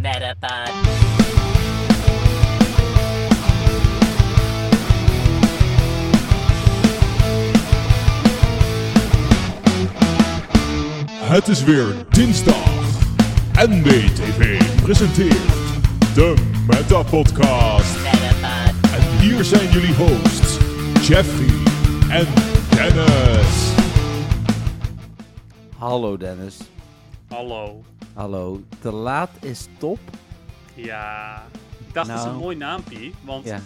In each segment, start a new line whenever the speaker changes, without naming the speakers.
Metapod.
Het is weer dinsdag. NBTV presenteert de Meta Podcast.
Metapod.
En hier zijn jullie hosts, Jeffrey en Dennis.
Hallo Dennis.
Hallo.
Hallo. Te laat is top.
Ja. Ik dacht, dat is
Nou.
een mooi naampie. Want
Ja.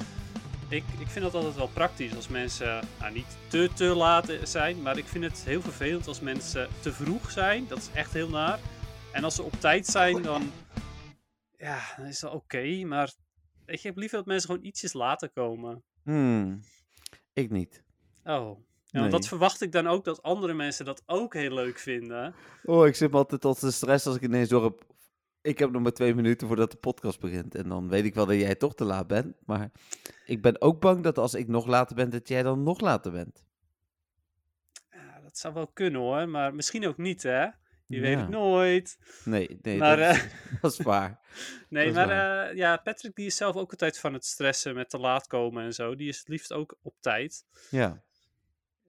ik, ik vind het altijd wel praktisch als mensen nou, niet te te laat zijn. Maar ik vind het heel vervelend als mensen te vroeg zijn. Dat is echt heel naar. En als ze op tijd zijn, dan, ja, dan is dat oké. maar ik heb liever dat mensen gewoon ietsjes later komen.
Hmm. Ik niet.
Oh. Ja,
Nee.
want dat verwacht ik dan ook dat andere mensen dat ook heel leuk vinden.
Oh, ik zit me altijd tot de stress als ik ineens door heb. Ik heb nog maar twee minuten voordat de podcast begint. En dan weet ik wel dat jij toch te laat bent. Maar ik ben ook bang dat als ik nog later ben, dat jij dan nog later bent.
Ja, dat zou wel kunnen hoor, maar misschien ook niet hè. Je weet
Ja.
het nooit.
Nee, nee,
Maar,
dat, is, dat is waar.
Nee,
Dat is
maar eh, ja, Patrick die is zelf ook altijd van het stressen met te laat komen en zo. Die is het liefst ook op tijd.
Ja.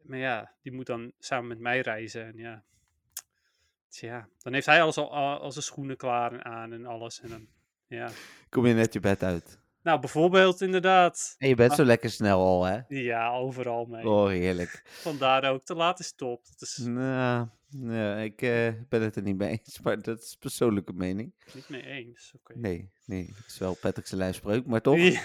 Maar ja, die moet dan samen met mij reizen. En ja, tja, dan heeft hij alles al, al, al zijn schoenen klaar en aan en alles. En dan, ja.
Kom je net je bed uit.
Nou, bijvoorbeeld inderdaad.
En je bent zo lekker snel al, hè?
Ja, overal mee.
Oh, heerlijk.
Vandaar ook, te laat is top. Dat is
Nou, nee, ik eh, ben het er niet mee eens. Maar dat is persoonlijke mening.
niet mee eens. Oké.
Nee, nee. Het is wel Patrick's lijfspreuk, maar toch.
Ja,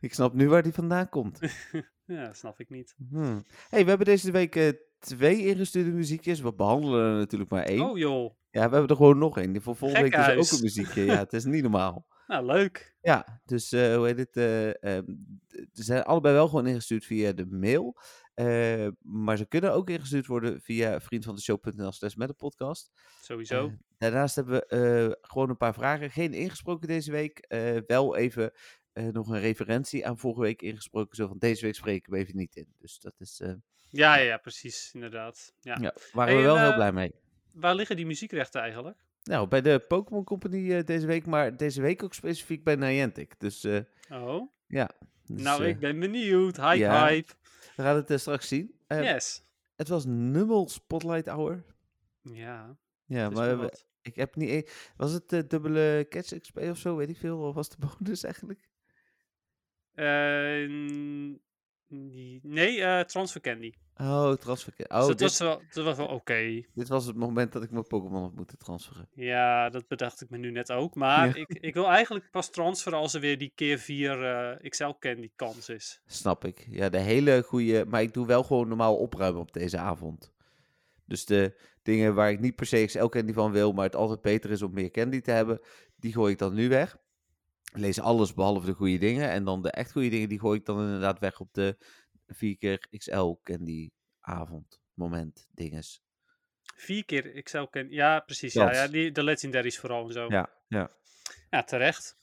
Ik snap nu waar die vandaan komt.
ja, snap ik niet.
Hmm. hey, we hebben deze week eh, twee ingestuurde muziekjes. We behandelen er natuurlijk maar één.
Oh joh,
Ja, we hebben er gewoon nog één. Die Voor volgende week is er ook
Gekhuis.
een muziekje. Ja, het is niet normaal.
nou leuk.
Ja, dus eh, hoe heet het? eh, ehm, d- ze zijn allebei wel gewoon ingestuurd via de mail. eh, maar ze kunnen ook ingestuurd worden via vriendvandeshow.nl slash met de podcast.
Sowieso.
Eh, daarnaast hebben we eh, gewoon een paar vragen. Geen ingesproken deze week. Eh, wel even eh, nog een referentie aan vorige week ingesproken. Zo van deze week spreken we even niet in. Dus dat is. eh
ja, ja, ja, precies. Inderdaad. Ja.
ja, waren
Hey,
we wel
en,
heel
eh,
blij mee.
Waar liggen die muziekrechten eigenlijk?
Nou, bij de Pokémon Company eh, deze week. Maar deze week ook specifiek bij Niantic. Dus. eh,
Oh.
dus,
nou,
eh,
ik ben benieuwd. Hype,
ja.
hype.
We gaan het eh, straks zien. Eh,
yes.
Het was Nummel Spotlight Hour.
Ja.
Ja,
dus
maar
maar
we-
wat.
ik heb niet. e- Was het eh, dubbele Catch XP of zo? Weet ik veel. Of was de bonus eigenlijk?
Eh, n- die- nee, eh Transfer Candy.
Oh, transfer. Oh,
dus dat
dit-
was wel, dat was wel oké.
Dit was het moment dat ik mijn Pokémon had moeten transferen.
Ja, dat bedacht ik me nu net ook. Maar
Ja.
ik, ik wil eigenlijk pas transferen als er weer die keer 4 eh XL Candy kans is.
Snap ik. Ja, de hele goede. Maar ik doe wel gewoon normaal opruimen op deze avond. Dus de dingen waar ik niet per se XL candy van wil, maar het altijd beter is om meer candy te hebben, die gooi ik dan nu weg. Ik Lees alles behalve de goede dingen. En dan de echt goede dingen, die gooi ik dan inderdaad weg op de 4 keer XL candy avond. Moment, dinges.
Vier keer XL Candy. Ja, precies. Ja,
Dat.
ja die, de legendaries vooral en zo. Ja,
Ja, ja.
terecht.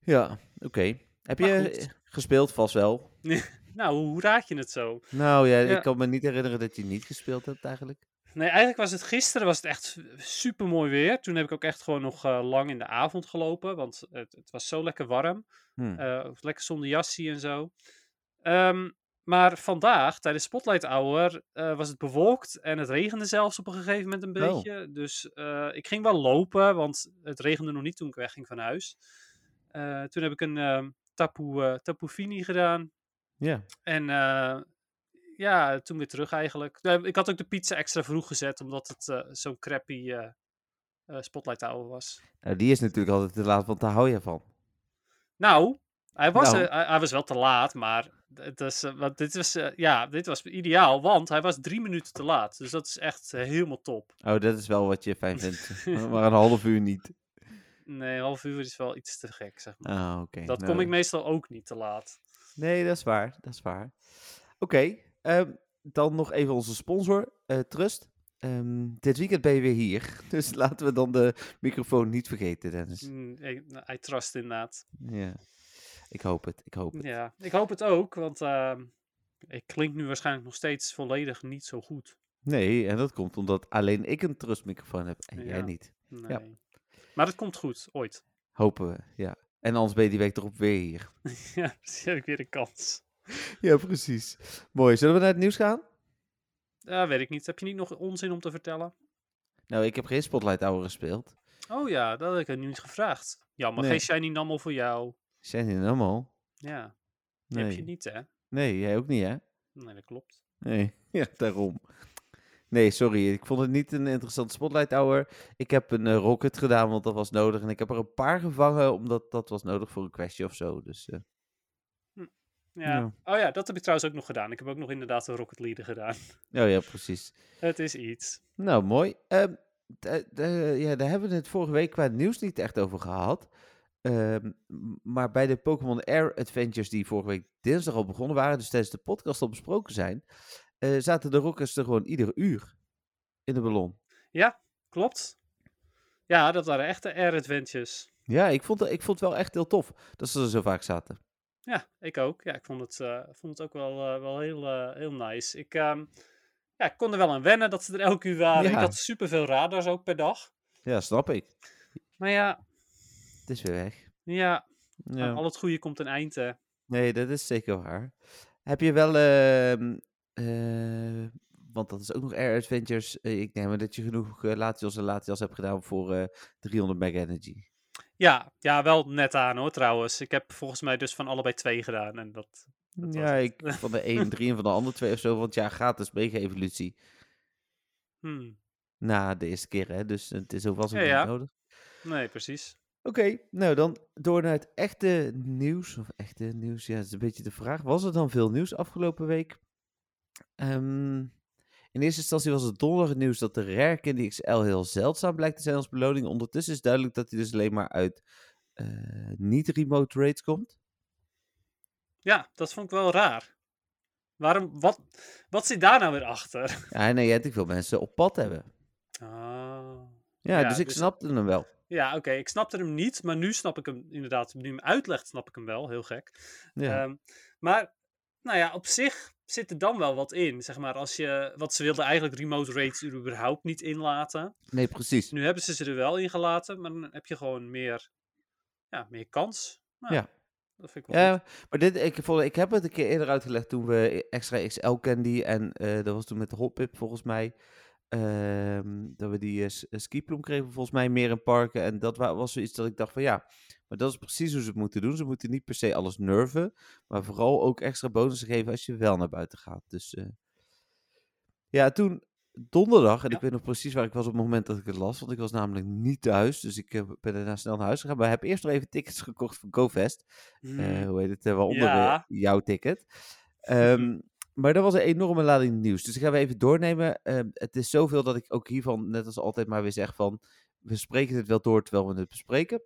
Ja, oké. Heb
Maar
je
goed.
gespeeld vast wel?
Nou, hoe raad je het zo?
Nou ja,
Ja.
ik kan me niet herinneren dat je niet gespeeld hebt eigenlijk.
Nee, eigenlijk was het gisteren was het echt super mooi weer. Toen heb ik ook echt gewoon nog eh, lang in de avond gelopen, want het, het was zo lekker warm.
Hm.
Eh, ook lekker zonder jassie en zo. Ehm, maar vandaag, tijdens Spotlight Hour, eh, was het bewolkt en het regende zelfs op een gegeven moment een
Oh.
beetje. Dus eh, ik ging wel lopen, want het regende nog niet toen ik wegging van huis. Eh, toen heb ik een ehm tapu, eh, tapu fini gedaan.
Ja.
En eh, ja, toen weer terug eigenlijk. Eh, Ik had ook de pizza extra vroeg gezet, omdat het eh, zo'n crappy eh, eh, spotlight hour was.
Nou, die is natuurlijk altijd te laat, want daar hou je van.
Nou, hij was,
Nou.
eh, hij, hij was wel te laat, maar het is, eh, want dit, was, eh, ja, dit was ideaal, want hij was drie minuten te laat. Dus dat is echt eh, helemaal top.
Oh, dat is wel wat je fijn vindt. maar een half uur niet.
Nee, een half uur is wel iets te gek, zeg maar.
Ah, oké.
dat
nou,
kom ik meestal ook niet te laat.
Nee, dat is waar. Dat is waar. Oké, ehm, dan nog even onze sponsor, eh, Trust. Ehm, dit weekend ben je weer hier. Dus laten we dan de microfoon niet vergeten, Dennis.
Mm, ik- I trust inderdaad.
Ja. Ik hoop het, ik hoop het.
Ja, ik hoop het ook, want eh, ik klink nu waarschijnlijk nog steeds volledig niet zo goed.
Nee, en dat komt omdat alleen ik een Trust microfoon heb en jij
Ja.
niet.
Nee.
Ja.
Maar het komt goed, ooit.
Hopen we, ja. En anders ben je die week erop weer hier.
ja, precies, heb ik weer een kans.
Ja, precies. Mooi. Zullen we naar het nieuws gaan?
Ja, weet ik niet. Heb je niet nog onzin om te vertellen?
Nou, ik heb geen Spotlight Hour gespeeld.
Oh ja, dat had ik er niet gevraagd. Jammer,
Nee.
geen shiny nammel voor jou.
Zijn die er nou allemaal?
Ja, die
Nee.
heb je niet, hè?
Nee, jij ook niet, hè?
Nee, dat klopt.
Nee, ja, daarom. Nee, sorry. Ik vond het niet een interessante Spotlight Hour. Ik heb een eh, rocket gedaan, want dat was nodig. En ik heb er een paar gevangen, omdat dat was nodig voor een questje of zo. Dus eh,
Ja.
Ja.
Oh ja, dat heb ik trouwens ook nog gedaan. Ik heb ook nog inderdaad een Rocket Leader gedaan.
nou ja, precies.
Het is iets.
Nou, mooi. Ehm, d- d- eh, ja, daar hebben we het vorige week qua nieuws niet echt over gehad. Ehm, m- maar bij de Pokémon Air Adventures die vorige week dinsdag al begonnen waren, dus tijdens de podcast al besproken zijn, eh, zaten de rockers er gewoon ieder uur in de ballon.
Klopt. Ja, dat waren echte Air Adventures.
Ja, ik vond, het- ik vond het wel echt heel tof dat ze er zo vaak zaten.
Ja, ik ook. Ja, ik vond het, eh, vond het ook wel, eh, wel heel, eh, heel nice. Ik, ehm, ja, ik kon er wel aan wennen dat ze er elk uur waren. Ik
Ja.
had superveel radars ook per dag.
Ja, snap ik.
Maar ja,
Het is weer weg.
ja, aan
Ja.
al het goede komt een eind. hè.
Nee, dat is zeker waar. Heb je wel, ehm, eh, want dat is ook nog Air Adventures. eh, ik neem aan dat je genoeg eh, Latios en Latias hebt gedaan voor eh, 300 mega energy.
Ja, ja, wel net aan hoor trouwens. Ik heb volgens mij dus van allebei twee gedaan. En dat, Dat was
Ja,
het.
ik van de een drie en van de ander twee of zo. Want ja, gratis mega evolutie
hmm,
na de eerste keer, hè? Dus het is ook was ook
Ja,
niet
ja.
nodig.
nee, precies.
Oké, nou dan door naar het echte nieuws. Of echte nieuws, ja, dat is een beetje de vraag. Was er dan veel nieuws afgelopen week? Ehm, in eerste instantie was het donderdag het nieuws dat de Rare Candy XL heel zeldzaam blijkt te zijn als beloning. Ondertussen is duidelijk dat hij dus alleen maar uit eh, niet-remote raids komt.
Ja, dat vond ik wel raar. Waarom, wat, wat zit daar nou weer achter?
Ja, nee, ja, ik wil mensen op pad hebben.
Ah.
Ja,
Ja,
dus ik
dus-
snapte hem wel.
Ja, oké, ik snapte hem niet, maar nu snap ik hem inderdaad. Nu hij hem uitlegt, snap ik hem wel, heel gek.
Ja.
Ehm, maar, nou ja, op zich zit er dan wel wat in, zeg maar. Als je, wat ze wilden eigenlijk remote raids er überhaupt niet in laten.
nee, precies.
Nu hebben ze ze er wel in gelaten, maar dan heb je gewoon meer, ja, meer kans. Nou,
Ja.
Dat vind ik wel goed.
Ja, maar dit, ik, vond- ik heb het een keer eerder uitgelegd toen we extra XL candy en eh, dat was toen met de hotpip volgens mij. ehm, dat we die eh, s- eh, skiploem kregen volgens mij meer in parken. En dat wa- was zoiets dat ik dacht van ja, maar dat is precies hoe ze het moeten doen. Ze moeten niet per se alles nerven, maar vooral ook extra bonussen geven als je wel naar buiten gaat. Dus eh, ja, toen donderdag, en
Ja.
ik weet nog precies waar ik was op het moment dat ik het las, want ik was namelijk niet thuis. Dus ik eh, ben daarna snel naar huis gegaan, maar heb eerst nog even tickets gekocht voor GoFest. Eh,
Hmm.
hoe heet het, eh, waaronder
Ja.
eh, jouw ticket. Ehm, maar dat was een enorme lading nieuws. Dus ik ga we even doornemen. Ehm, het is zoveel dat ik ook hiervan, net als altijd, maar weer zeg van... We spreken het wel door terwijl we het bespreken.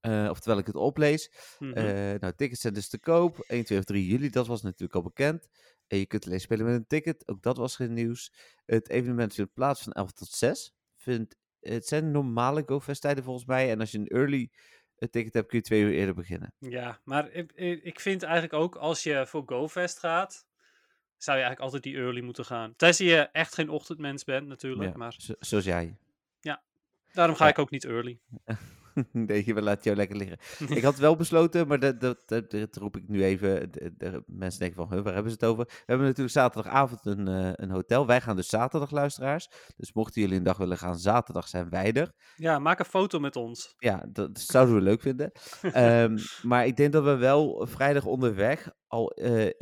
Eh, of terwijl ik het oplees.
Mhm.
Eh, nou, tickets zijn dus te koop. 1, 2 of 3 juli, dat was natuurlijk al bekend. En je kunt alleen spelen met een ticket, ook dat was geen nieuws. Het evenement vindt plaats van 11 tot 6. Vindt, het zijn normale GoFest-tijden volgens mij. En als je een early eh, ticket hebt, kun je twee uur eerder beginnen.
Ja, maar ik, ik ik vind eigenlijk ook als je voor GoFest gaat, zou je eigenlijk altijd die early moeten gaan. Tenzij je echt geen ochtendmens bent natuurlijk,
Ja,
maar
zo- zoals jij.
daarom ga
Ja.
ik ook niet early.
nee, je laat jou lekker liggen. ik had wel besloten, maar dat, dat, dat, dat roep ik nu even. De, de mensen denken van, huh, waar hebben ze het over? We hebben natuurlijk zaterdagavond een, eh, een hotel. Wij gaan dus zaterdag, luisteraars. Dus mochten jullie een dag willen gaan, zaterdag zijn wij er.
Ja, maak een foto met ons.
Ja, dat zouden we leuk vinden. Ehm, maar ik denk dat we wel vrijdag onderweg al eh,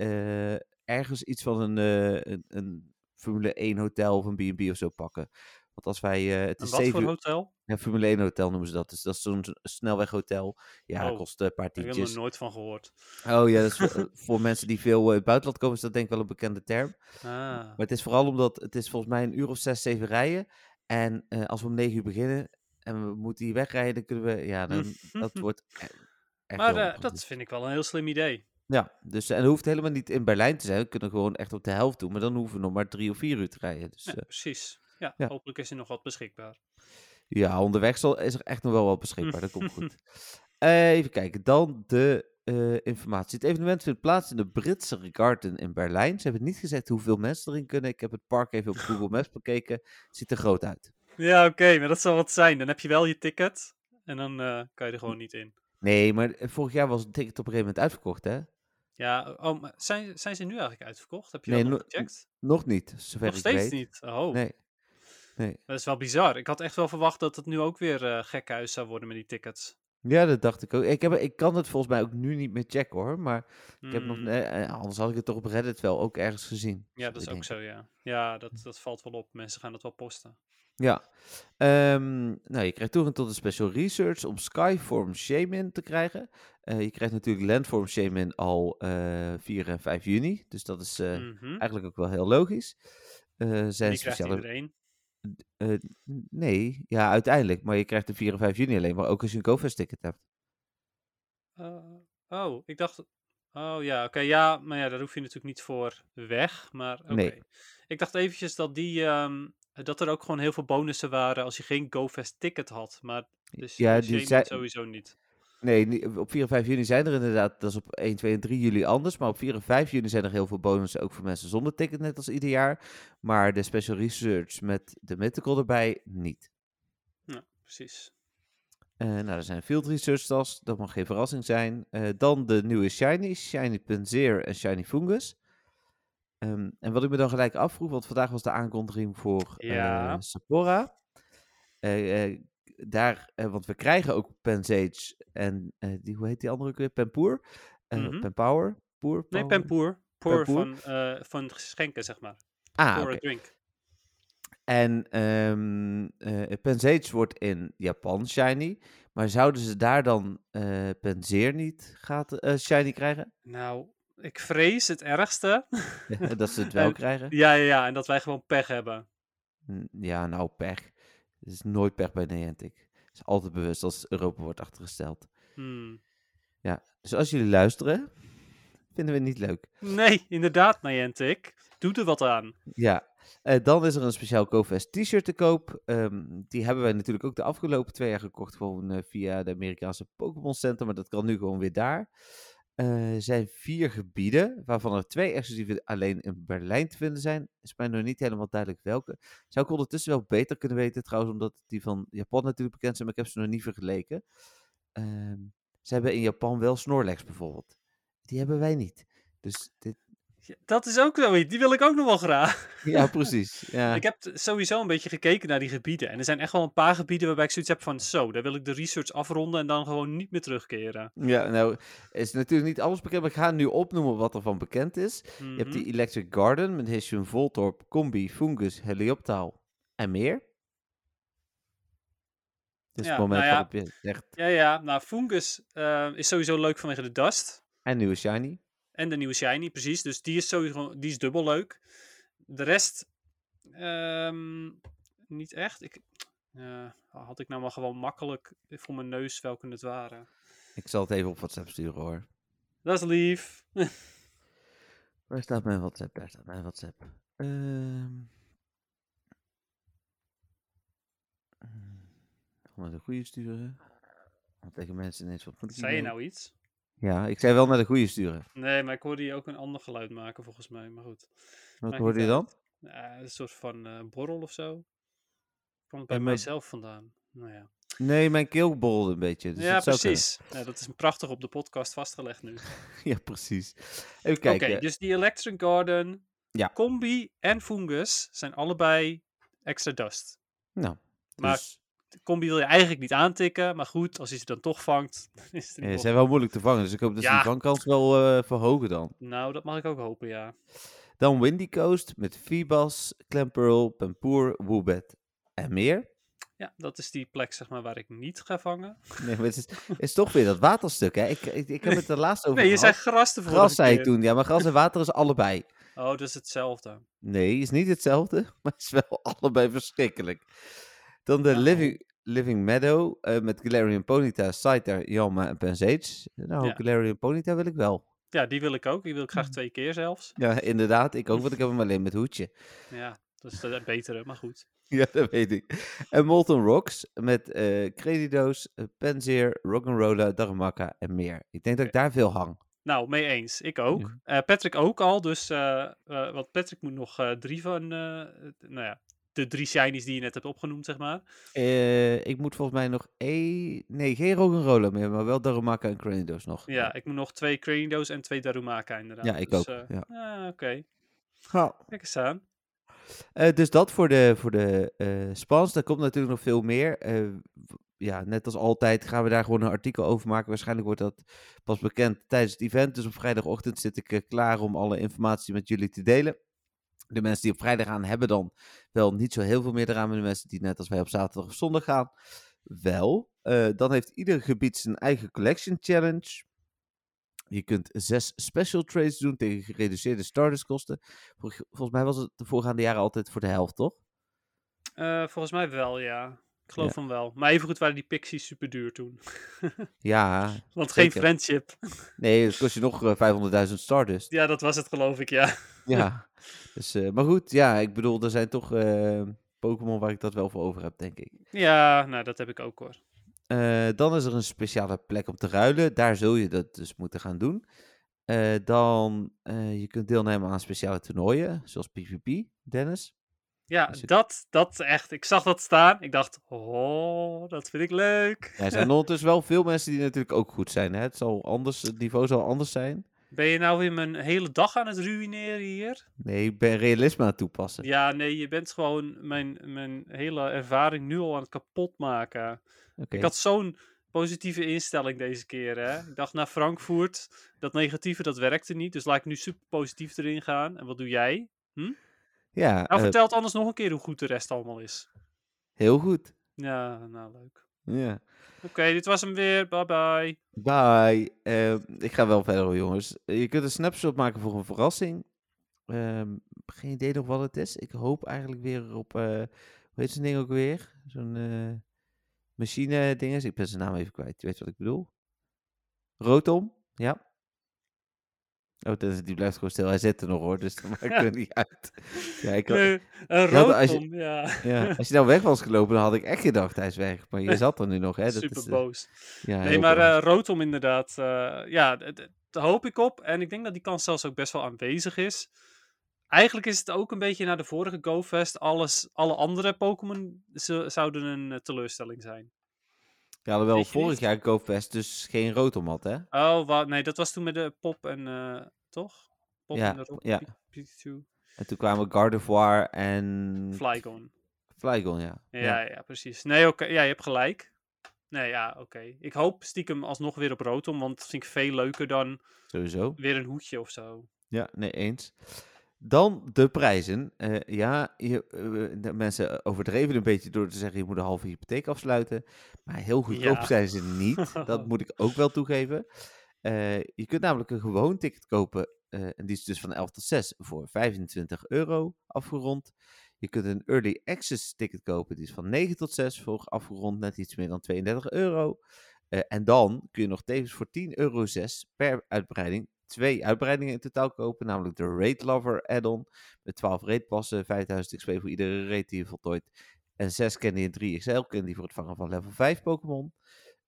eh, ergens iets van een, eh, een, een Formule 1 hotel of een B&B of zo pakken. Want als wij... eh, het
En
is
wat
7
voor
uur...
hotel?
Ja, Formule 1 hotel noemen ze dat. Dus dat is zo'n s- snelweghotel. Ja, dat
Oh,
kost eh, een paar
Ik heb er
tientjes.
nooit van gehoord.
Oh ja, dat is voor, eh, voor mensen die veel eh, uit het buitenland komen, is dat denk ik wel een bekende term.
Ah,
Maar het is vooral omdat het is volgens mij een uur of zes, zeven rijden. En eh, als we om negen uur beginnen en we moeten hier wegrijden, dan kunnen we... Ja, dan, dat wordt e- echt
maar
heel
eh,
ongemak.
dat vind ik wel een heel slim idee.
Ja, dus, en het hoeft helemaal niet in Berlijn te zijn. We kunnen gewoon echt op de helft doen. Maar dan hoeven we nog maar drie of vier uur te rijden. Dus
Ja,
eh,
precies. Ja,
ja.
hopelijk is er nog wat beschikbaar.
Ja, onderweg zal, is er echt nog wel wat beschikbaar. Dat komt goed. Eh, even kijken, dan de eh, informatie. Het evenement vindt plaats in de Britse Garden in Berlijn. Ze hebben niet gezegd hoeveel mensen erin kunnen. Ik heb het park even op Google Maps bekeken. Het ziet er groot uit.
Ja, oké, maar dat zal wat zijn. Dan heb je wel je ticket en dan eh, kan je
Hm.
er gewoon niet in.
Nee, maar eh, vorig jaar was het ticket op een gegeven moment uitverkocht, hè?
Ja, oh, maar zijn, zijn ze nu eigenlijk uitverkocht? Heb je
Nee,
dat nog
no-
gecheckt?
Nog niet, zover
Nog
ik
steeds
weet.
niet. Oh,
Nee. nee.
dat is wel bizar. Ik had echt wel verwacht dat het nu ook weer eh gekhuis zou worden met die tickets.
Ja, dat dacht ik ook. Ik, heb, ik kan het volgens mij ook nu niet meer checken, hoor. Maar ik heb nog,
Hmm,
eh, eh, anders had ik het toch op Reddit wel ook ergens gezien.
Ja,
zat
dat
ik
is ook
denken.
zo, ja. Ja, dat, dat valt wel op. Mensen gaan dat wel posten.
Ja. Ehm, nou, je krijgt toegang tot de special research om Skyform Shaman te krijgen. Eh, je krijgt natuurlijk Landform Shaman al eh 4 en 5 juni. Dus dat is eh,
Mhm.
eigenlijk ook wel heel logisch. Eh zijn
Die krijgt
speciale...
iedereen.
N- Nee, ja, uiteindelijk. Maar je krijgt de 4 en 5 juni alleen maar ook als je een GoFest ticket hebt.
Eh, oh, ik dacht... Oh ja, oké, ja, maar ja, daar hoef je natuurlijk niet voor weg, maar oké.
Nee.
Ik dacht eventjes dat die, ehm, dat er ook gewoon heel veel bonussen waren als je geen GoFest ticket had, maar dus
Ja,
ja,
die
die
zei-
sowieso niet.
Nee, ni- op 4 en 5 juni zijn er inderdaad, dat is op 1, 2 en 3 juli anders. Maar op 4 en 5 juni zijn er heel veel bonussen, ook voor mensen zonder ticket, net als ieder jaar. Maar de special research met de mythical erbij niet.
Ja, precies.
Eh, nou, er zijn field research tasks, dat mag geen verrassing zijn. Eh, dan de nieuwe shinies, shiny Panzer en shiny fungus. Ehm, en wat ik me dan gelijk afvroeg, want vandaag was de aankondiging voor eh,
Ja.
Sephora. Eh, eh, daar, eh, want we krijgen ook Pensage en eh, die, hoe heet die andere ook weer? Penpoer? Eh
Mhm.
Penpower? Poer?
Nee,
Power?
Pempoer. Poor
Pempoer?
van, eh, van geschenken, zeg maar.
Ah,
Pour
oké.
a drink.
En ehm eh, Pensage wordt in Japan shiny. Maar zouden ze daar dan eh Penseer niet gaat, eh, shiny krijgen?
Nou, ik vrees het ergste.
dat ze het wel
Eh,
krijgen?
Ja, ja, ja, en dat wij gewoon pech hebben.
N- Ja, nou pech. Het is nooit pech bij Niantic. Het is altijd bewust als Europa wordt achtergesteld.
Hmm.
Dus als jullie luisteren, vinden we het niet leuk.
Nee, inderdaad, Niantic. Doe er wat aan.
Ja, eh, dan is er een speciaal GoFest t-shirt te koop. Ehm, die hebben wij natuurlijk ook de afgelopen twee jaar gekocht. Gewoon eh, via de Amerikaanse Pokémon Center. Maar dat kan nu gewoon weer daar. Eh, er zijn vier gebieden, waarvan er twee exclusieve alleen in Berlijn te vinden zijn. Is mij nog niet helemaal duidelijk welke. Zou ik ondertussen wel beter kunnen weten trouwens, omdat die van Japan natuurlijk bekend zijn, maar ik heb ze nog niet vergeleken. Ehm, ze hebben in Japan wel Snorlax bijvoorbeeld. Die hebben wij niet. Dus dit...
Ja, Dat is ook zoiets. Die wil ik ook nog wel graag.
Ja, precies. Ja.
Ik heb t- sowieso een beetje gekeken naar die gebieden. En er zijn echt wel een paar gebieden waarbij ik zoiets heb van... Zo, daar wil ik de research afronden en dan gewoon niet meer terugkeren.
Ja, nou is natuurlijk niet alles bekend, maar ik ga nu opnoemen wat er van bekend is. Je
Mhm.
hebt die Electric Garden met Hessian Voltorb, Combi, Fungus, Helioptaal en meer. Dit is
Ja,
het moment
nou ja.
waarop je zegt,
Ja, ja. Nou, Fungus eh, is sowieso leuk vanwege de dust.
en nieuwe Shiny.
En de nieuwe Shiny, precies. Dus die is sowieso die is dubbel leuk. De rest... ehm, niet echt. Ik, eh, had ik nou maar gewoon makkelijk voor mijn neus welke het waren.
Ik zal het even op WhatsApp sturen hoor.
Dat is lief.
Waar staat mijn WhatsApp? Daar staat mijn WhatsApp. Ehm. Hmm. Om naar de goede sturen. Want tegen mensen ineens wat moet ik
Zei je
hiermee?
nou iets?
Ja, ik zei wel naar de goede sturen.
Nee, maar ik hoorde je ook een ander geluid maken volgens mij. Maar goed.
Wat
Maakt
hoorde je
niet
dan?
Eh, een soort van eh, borrel of zo. Komt
Ja,
bij
maar-
mijzelf vandaan. Nou ja,
Nee, mijn keel borrelde een beetje. Dus
ja
dat zou kunnen.
precies. Nou, dat is prachtig op de podcast vastgelegd nu. Oké,
ja, precies. Even kijken.
dus die Electric Garden,
eh, Ja.
Combi en Fungus zijn allebei extra dust.
Nou,
maar-
dus,
De Combi wil je eigenlijk niet aantikken, maar goed, als je ze dan toch vangt, dan is het
eh, ze
in ieder geval-
zijn wel moeilijk te vangen, dus ik hoop dat ze
Ja.
die vangkans wel eh, verhogen dan.
Nou, dat mag ik ook hopen, ja.
Dan Windy Coast met Fibas, Clamperl, Pampoer, Woobat en meer.
Ja, dat is die plek zeg maar waar ik niet ga vangen.
Nee, maar het is, het is toch weer dat waterstuk, hè? Ik, ik, ik heb het er laatst over
Nee, je zei
gehad.
gras de vorige
Gras zei ik
keer.
toen, ja, maar gras en water is allebei.
Oh, dat is hetzelfde.
Nee, is niet hetzelfde, maar is wel allebei verschrikkelijk. Dan de
Nou.
Living, Living Meadow eh, met Galarian Ponyta, Scyther, Yalma en Pensage. Nou,
Ja.
Galarian Ponyta wil ik wel.
Ja, die wil ik ook. Die wil ik graag
Hmm.
twee keer zelfs.
Ja, inderdaad, ik ook, want ik heb hem alleen met hoedje.
Ja, dat is de betere, maar goed.
Ja, dat weet ik. En Molten Rocks met eh Credido's, eh, Penzeer, Rock'n'Roller, Darumaka en meer. Ik denk dat ik daar veel hang.
Nou, mee eens. Ik ook. Eh, Patrick ook al. Dus eh, eh, want Patrick moet nog eh, drie van. eh, nou ja, de drie shinies die je net hebt opgenoemd, zeg maar.
Eh, ik moet volgens mij nog één... Nee, geen Rock'n'Roller meer, maar wel Darumaka en Cranidos nog.
Ja, ik moet nog twee Cranidos en twee Darumaka inderdaad.
Ja, ik
Dus,
ook.
eh,
ja.
ah, oké.
Nou,
Kijk eens aan.
Eh, dus dat voor de, voor de eh spans. Daar komt natuurlijk nog veel meer. Eh, w- ja, net als altijd gaan we daar gewoon een artikel over maken. Waarschijnlijk wordt dat pas bekend tijdens het event. Dus op vrijdagochtend zit ik eh, klaar om alle informatie met jullie te delen. De mensen die op vrijdag gaan hebben dan wel niet zo heel veel meer eraan. Maar de mensen die net als wij op zaterdag of zondag gaan, wel. Eh, dan heeft ieder gebied zijn eigen collection challenge. Je kunt zes special trades doen tegen gereduceerde starterskosten. Vol- Volgens mij was het de voorgaande jaren altijd voor de helft, toch?
Eh, volgens mij wel, ja. Ik geloof
Ja.
van wel. Maar evengoed waren die pixies super duur toen.
Ja.
Want
Zeker.
geen friendship.
Nee, dat kost je nog eh, 500.000 Stardust.
Ja, dat was het geloof ik, ja.
Ja. Dus, eh, maar goed, ja, ik bedoel, er zijn toch eh, Pokémon waar ik dat wel voor over heb, denk ik.
Ja, nou dat heb ik ook hoor.
Eh, dan is er een speciale plek om te ruilen. Daar zul je dat dus moeten gaan doen. Eh, dan, eh je kunt deelnemen aan speciale toernooien, zoals PvP, Dennis.
Ja,
Dus ik-
dat, dat echt. Ik zag dat staan. Ik dacht, oh, dat vind ik leuk.
Ja, er zijn ondertussen wel veel mensen die natuurlijk ook goed zijn. Hè? Het, zal anders, het niveau zal anders zijn.
Ben je nou weer mijn hele dag aan het ruïneren hier?
Nee, ik ben realisme aan het toepassen.
Ja, nee, je bent gewoon mijn, mijn hele ervaring nu al aan het kapotmaken.
Oké.
Ik had zo'n positieve instelling deze keer. Hè? Ik dacht naar Frankfurt, dat negatieve dat werkte niet. Dus laat ik nu super positief erin gaan. En wat doe jij?
Ja,
Nou,
eh,
vertel het anders nog een keer hoe goed de rest allemaal is.
heel goed.
Ja, nou leuk.
Ja.
Oké, dit was hem weer. Bye bye.
Bye. Ehm, ik ga wel verder, hoor, jongens. Je kunt een snapshot maken voor een verrassing. Ehm, geen idee nog wat het is. Ik hoop eigenlijk weer op. eh hoe heet zo'n ding ook weer? Zo'n machine-dinges. Ik ben zijn naam even kwijt. Je weet wat ik bedoel. Rotom? Ja. Oh, Dennis, die blijft gewoon stil. Hij zit er nog hoor, dus dat maakt er niet uit. Ja, ik had-
Nee, een
had- als je-
roodkom, ja.
ja, als je nou weg was gelopen, dan had ik echt gedacht hij is weg. Maar je zat er nu nog, hè? Dat
Super
is, eh,
boos.
ja,
nee,
heel
maar
boos.
eh Rotom inderdaad. eh, ja, d- d- daar hoop ik op. En ik denk dat die kans zelfs ook best wel aanwezig is. Eigenlijk is het ook een beetje naar de vorige GoFest. Alles, alle andere Pokémon ze- zouden een eh, teleurstelling zijn.
Ja, alhoewel
Weet je
vorig
niet?
jaar Koopfest dus geen rotom had, hè?
Oh, wa- nee, dat was toen met de Pop en... eh, toch? Pop
Ja,
en de Rock,
ja.
Pi- Pikachu,
En toen kwamen Gardevoir en
Flygon.
Flygon, ja.
Ja, ja. precies. Nee, oké. Ja, je hebt gelijk. Nee, ja, oké. Ik hoop stiekem alsnog weer op Rotom, want dat vind ik veel leuker dan
Sowieso.
weer een hoedje of zo.
Ja, nee, eens. Dan de prijzen. Eh, ja, je, eh, de mensen overdreven een beetje door te zeggen je moet een halve hypotheek afsluiten. Maar heel goedkoop
Ja.
zijn ze niet. Dat moet ik ook wel toegeven. Eh, je kunt namelijk een gewoon ticket kopen. eh, en die is dus van 11 tot 6 voor 25 euro afgerond. Je kunt een early access ticket kopen. Die is van 9 tot 6 voor afgerond net iets meer dan 32 euro. Eh, en dan kun je nog tevens voor 10,06 euro per uitbreiding twee uitbreidingen in totaal kopen. Namelijk de Raid Lover add-on met 12 raidpassen, 5000 XP voor iedere raid die je voltooit. En 6 candy en 3 XL candy voor het vangen van level 5 Pokémon.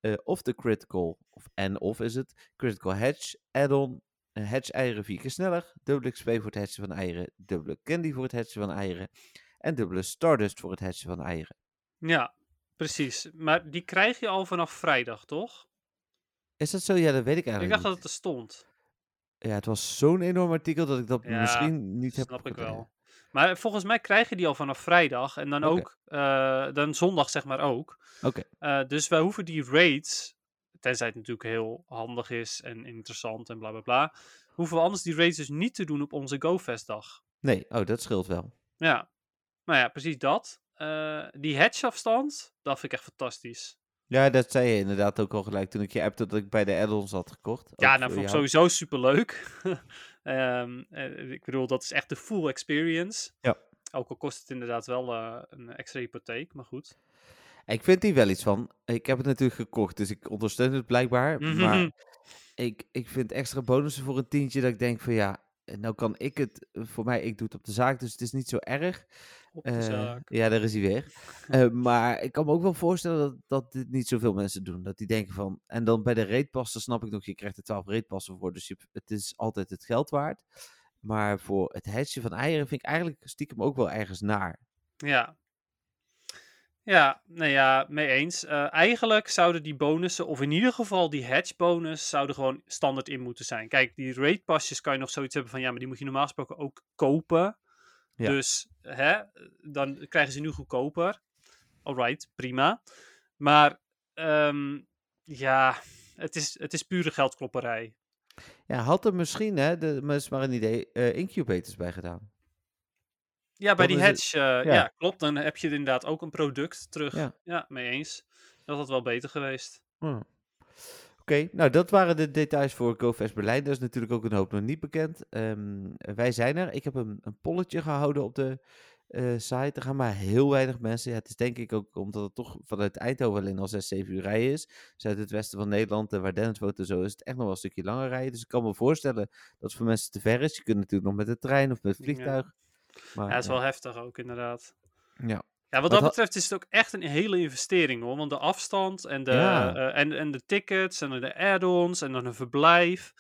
Eh, of de Critical, of en of is het, Critical Hedge add-on. Een hedge eieren vier keer sneller, dubbele XP voor het hatchen van eieren, dubbele candy voor het hatchen van eieren en dubbele Stardust voor het hatchen van eieren.
Ja, precies. Maar die krijg je al vanaf vrijdag, toch?
Is dat zo? Ja, dat weet ik eigenlijk
ik
niet.
dacht dat het er stond.
Ja, het was zo'n enorm artikel dat ik dat
Ja,
misschien niet heb
Snap ik
opgedragen.
wel. Maar volgens mij krijg je die al vanaf vrijdag en dan
Oké.
ook, eh, dan zondag zeg maar ook.
Oké.
Eh, dus wij hoeven die raids, tenzij het natuurlijk heel handig is en interessant en bla bla bla, hoeven we anders die raids dus niet te doen op onze GoFest dag.
Nee, oh, dat scheelt wel.
Ja, nou ja, precies dat. Eh, die hedgeafstand, dat vind ik echt fantastisch.
Ja, dat zei je inderdaad ook al gelijk toen ik je appte dat ik bij de add-ons had gekocht.
ja,
Ook
nou
voor
vond ik
jou.
sowieso superleuk. Ehm, eh, ik bedoel, dat is echt de full experience.
Ja.
Ook al kost het inderdaad wel eh, een extra hypotheek, maar goed.
Ik vind hier wel iets van. Ik heb het natuurlijk gekocht, dus ik ondersteun het blijkbaar.
Mhm.
Maar ik, ik vind extra bonussen voor een tientje dat ik denk van ja, nou kan ik het, eh, voor mij, ik doe het op de zaak, dus het is niet zo erg.
Op de
Eh,
zaak.
ja, daar is hij weer. Eh, maar ik kan me ook wel voorstellen dat, dat dit niet zoveel mensen doen. Dat die denken van, en dan bij de reetpassen snap ik nog, je krijgt er 12 reetpassen voor, dus je, het is altijd het geld waard. Maar voor het hetje van eieren vind ik eigenlijk stiekem ook wel ergens naar.
Ja. Ja, nou ja, mee eens. Eh, eigenlijk zouden die bonussen, of in ieder geval die hedge bonus, zouden gewoon standaard in moeten zijn. Kijk, die raid pasjes kan je nog zoiets hebben van, ja, maar die moet je normaal gesproken ook kopen.
Ja.
Dus, hè, dan krijgen ze nu goedkoper. Alright, prima. Maar, ehm, ja, het is, het is pure geldklopperij.
Ja, had er misschien, hè, de, maar is maar een idee, eh, incubators bij gedaan.
Ja, bij
Dan
die
is het-
hedge, eh, ja.
ja.
klopt. Dan heb je inderdaad ook een product terug. Ja,
Ja.
mee eens. Dat had wel beter geweest.
Oké, Hmm. nou dat waren de details voor GoFest Berlijn. Er is natuurlijk ook een hoop nog niet bekend. Ehm, wij zijn er. Ik heb een, een polletje gehouden op de eh, site. Er gaan maar heel weinig mensen. Ja, het is denk ik ook omdat het toch vanuit Eindhoven alleen al 6, 7 uur rijden is. Dus uit het westen van Nederland, en waar Dennis woont en zo, is het echt nog wel een stukje langer rijden. Dus ik kan me voorstellen dat het voor mensen te ver is. Je kunt natuurlijk nog met de trein of met het
Ja.
vliegtuig. Maar,
Ja, dat is
eh,
wel heftig ook, inderdaad.
Ja.
Ja, wat
Wat
dat
ha-
betreft is het ook echt een hele investering hoor. Want de afstand en de,
Ja.
eh, en, en de tickets en de add-ons en dan een verblijf.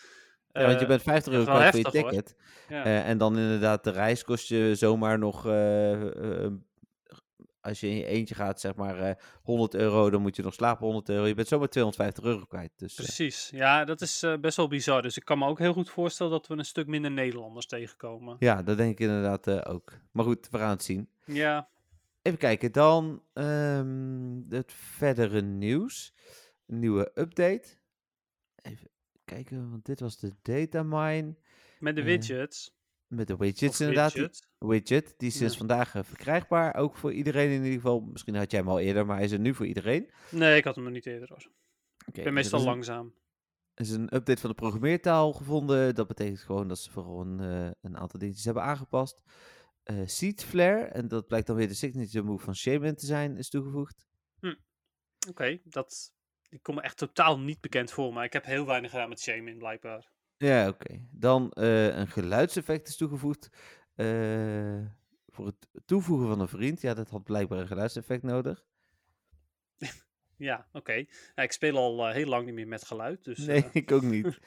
Ja, want je
Eh,
bent 50 euro
dat is wel
kwijt voor je
heftig, hoor.
ticket.
Ja.
Eh, en dan inderdaad, de reis kost je zomaar nog, eh, eh, als je in je eentje gaat, zeg maar eh, 100 euro, dan moet je nog slapen 100 euro. Je bent zomaar 250 euro kwijt. Dus, eh,
Precies. Ja, dat is eh, best wel bizar. Dus ik kan me ook heel goed voorstellen dat we een stuk minder Nederlanders tegenkomen.
ja, dat denk ik inderdaad eh, ook. Maar goed, we gaan het zien.
Ja,
Even kijken, dan ehm, het verdere nieuws. Een nieuwe update. Even kijken, want dit was de datamine
met de
Eh,
widgets.
met de
Of
widgets inderdaad. die-
widget.
widget, die is sinds
Ja.
vandaag eh, verkrijgbaar. Ook voor iedereen in ieder geval. Misschien had jij hem al eerder, maar hij is er nu voor iedereen.
Nee, ik had hem nog niet eerder. Hoor. Ik ben meestal
lang.
langzaam.
Er is een update van de programmeertaal gevonden. Dat betekent gewoon dat ze vooral een, eh, een aantal dingetjes hebben aangepast. Eh Seedflare, en dat blijkt dan weer de signature move van Shaman te zijn, is toegevoegd.
Oké, dat die komt me echt totaal niet bekend voor, maar ik heb heel weinig gedaan met Shame in blijkbaar.
Ja, oké. Dan eh, een geluidseffect is toegevoegd. eh, voor het toevoegen van een vriend. Ja, dat had blijkbaar een geluidseffect nodig.
Ja, oké. Nou, ik speel al eh, heel lang niet meer met geluid, dus
nee,
eh,
ik ook niet.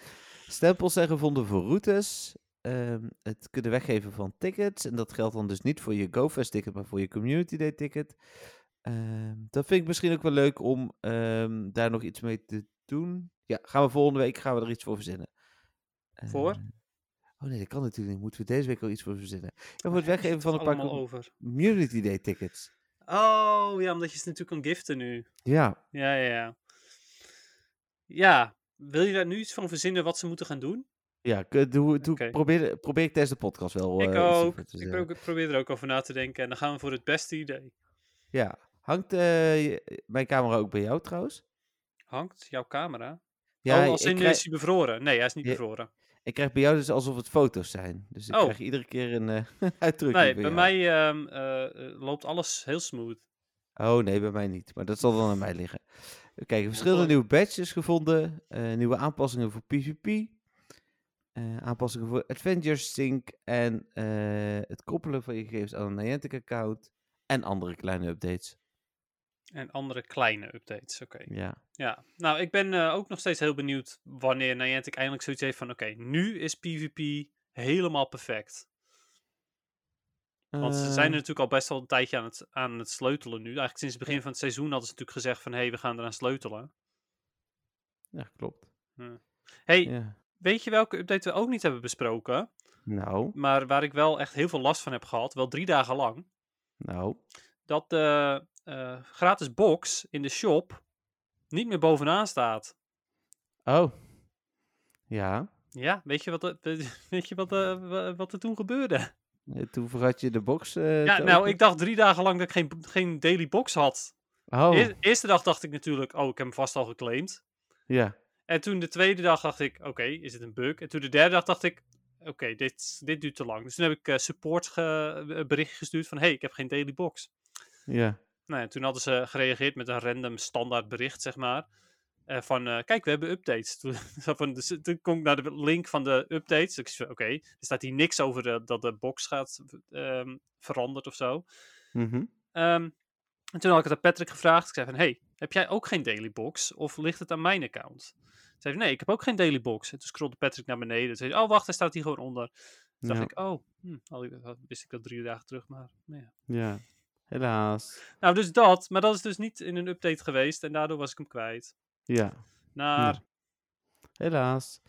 Stempels zijn gevonden voor routes. ehm, het kunnen weggeven van tickets. En dat geldt dan dus niet voor je GoFest ticket, maar voor je Community Day ticket. Ehm, dat vind ik misschien ook wel leuk om ehm, daar nog iets mee te doen. Ja, gaan we volgende week gaan we er iets voor verzinnen. Eh,
Voor?
oh nee, dat kan natuurlijk niet. Moeten we deze week al iets voor verzinnen? Ja, voor het
daar heb je
weggeven van
toch
een paar
allemaal
com-
over.
Community Day tickets.
Oh, ja, omdat je ze natuurlijk kan giften nu.
Ja,
Ja, ja, ja. Ja, wil je daar nu iets van verzinnen wat ze moeten gaan doen?
ja ik, eh, doe, doe,
Oké.
probeer, probeer ik tijdens de podcast wel. eh,
ik
iets over
ook.
te
Ik
verzinnen.
pro- probeer er ook over na te denken en dan gaan we voor het beste idee.
Ja. Hangt eh, je- mijn camera ook bij jou trouwens?
Hangt jouw camera?
Ja,
oh, als
ik,
in
krijg,
is hij bevroren. Nee, hij is niet
Ja,
bevroren.
ik krijg bij jou dus alsof het foto's zijn. Dus ik
Oh.
krijg iedere keer een eh, uitdrukking.
Nee, bij
jou.
mij ehm, eh, eh, loopt alles heel smooth.
Oh nee, bij mij niet. Maar dat zal dan aan mij liggen. Kijk, verschillende
mooi.
nieuwe badges gevonden. eh, nieuwe aanpassingen voor PvP. eh, aanpassingen voor Adventure Sync. En eh, het koppelen van je gegevens aan een Niantic-account. En andere kleine updates.
En andere kleine updates, oké.
Ja.
Ja, nou, ik ben eh, ook nog steeds heel benieuwd wanneer Niantic eindelijk zoiets heeft van... Oké, nu is PvP helemaal perfect. Want ze zijn er
Eh,
natuurlijk al best wel een tijdje aan het, aan het sleutelen nu. Eigenlijk sinds het begin van het seizoen hadden ze natuurlijk gezegd van... Hé, hey, we gaan eraan sleutelen.
Ja, klopt.
hey,
Ja.
weet je welke update we ook niet hebben besproken?
Nou,
Maar waar ik wel echt heel veel last van heb gehad, wel drie dagen lang...
nou.
Dat de eh, gratis box in de shop niet meer bovenaan staat.
Oh. Ja.
Ja, weet je wat, er- weet weet je wat, eh, wa- wat er toen gebeurde?
Eh, Toen vergat je de box. eh,
Ja,
te
nou,
openen.
ik dacht drie dagen lang dat ik geen, geen daily box had.
Oh,
Eer- eerste dag dacht ik natuurlijk, oh, ik heb hem vast al geclaimd.
ja.
En toen de tweede dag dacht ik, oké, is het een bug? En toen de derde dag dacht ik, oké, dit, dit duurt te lang. Dus toen heb ik eh, support ge- eh, een bericht gestuurd van, hey, ik heb geen daily box.
Ja.
Nou ja, toen hadden ze gereageerd met een random standaard bericht, zeg maar. eh, van, eh, kijk, we hebben updates. Toen, zat van, dus, toen kom ik naar de link van de updates. Ik zei, oké, er staat hier niks over de- dat de box gaat ehm veranderd of zo.
Mhm.
Ehm, en toen had ik het aan Patrick gevraagd. Ik zei van, hey, heb jij ook geen daily box? Of ligt het aan mijn account? Ze zei, nee, ik heb ook geen daily box. En toen scrolde Patrick naar beneden. Toen zei hij, oh, wacht, hij staat hier gewoon onder. Toen
Ja.
dacht ik, oh, hm, al- wist ik dat drie dagen terug, maar nou ja.
ja.
Helaas.
Nou, dus dat. Maar dat is dus niet in een update geweest. En daardoor was ik hem kwijt.
Ja,
Naar...
helaas.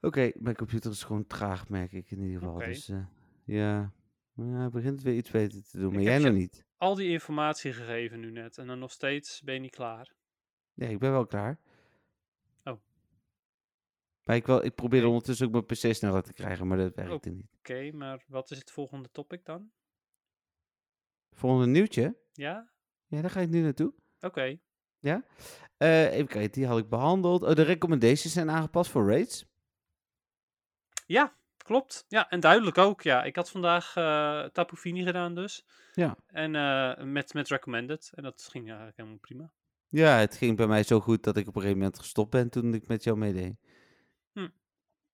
Oké, mijn computer is gewoon traag, merk ik in ieder geval.
Oké.
Dus eh, ja, ja, hij begint weer iets beter te doen. Maar
Ik
jij
heb
nog
je-
niet.
al die informatie gegeven nu net. En dan nog steeds ben je niet klaar.
Nee, ik ben wel klaar.
Oh.
Maar ik, wel, ik probeer
Oké. Oh.
ondertussen ook mijn PC sneller te krijgen, maar dat werkte niet.
Oké, maar wat is het volgende topic dan?
Volgende nieuwtje.
Ja?
Ja, daar ga ik nu naartoe.
Oké.
Eh, even kijken, die had ik behandeld. Oh, de recommendations zijn aangepast voor raids.
Klopt. Ja, en duidelijk ook. Ja, ik had vandaag eh Tapu Fini gedaan dus.
Ja.
En eh, met, met recommended. En dat ging eigenlijk helemaal prima.
Ja, het ging bij mij zo goed dat ik op een gegeven moment gestopt ben toen ik met jou meedeed.
Hm.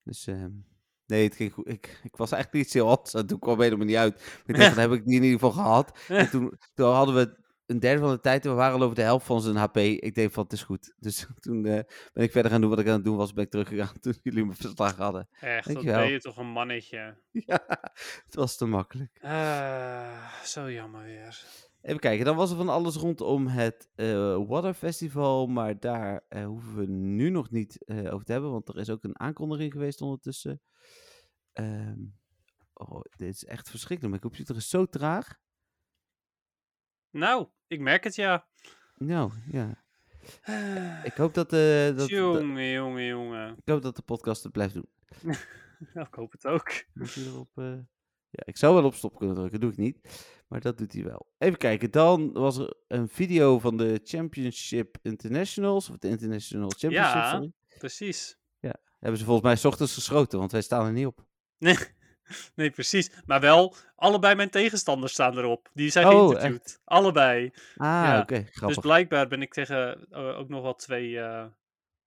Dus ehm, nee, het ging goed. Ik, ik was eigenlijk niet heel anders. en Toen kwam het helemaal niet uit. Maar ik dacht, dan heb ik die in ieder geval gehad. En toen, toen hadden we een derde van de tijd en we waren al over de helft van zijn HP. Ik denk van, het is goed. Dus toen eh, ben ik verder gaan doen wat ik aan het doen was. Ben ik teruggegaan toen jullie mijn verslag hadden.
Echt, dat
Dankjewel.
ben je toch een mannetje.
Ja, het was te makkelijk.
Ah, zo jammer weer.
Even kijken, dan was er van alles rondom het eh, Water Festival, maar daar eh, hoeven we nu nog niet eh, over te hebben, want er is ook een aankondiging geweest ondertussen. Ehm, oh, dit is echt verschrikkelijk, mijn computer is zo traag.
Nou, ik merk het ja.
Nou, ja.
Ah,
Ik hoop dat, eh, dat, dat-
jongen, jongen, jongen.
ik hoop dat de podcast het blijft doen.
Nou, ik hoop het ook.
Moet je erop, eh, Ja, ik zou wel op stop kunnen drukken, doe ik niet. Maar dat doet hij wel. Even kijken, dan was er een video van de Championship Internationals, of de International Championship,
Ja.
sorry.
Precies.
Hebben ze volgens mij 's ochtends geschoten, want wij staan er niet op.
Nee, nee, precies. Maar wel, allebei mijn tegenstanders staan erop. Die zijn
Oh,
geïnterviewd. Allebei.
Ah,
Ja,
oké, grappig.
Dus blijkbaar ben ik tegen eh, ook nog wel twee eh,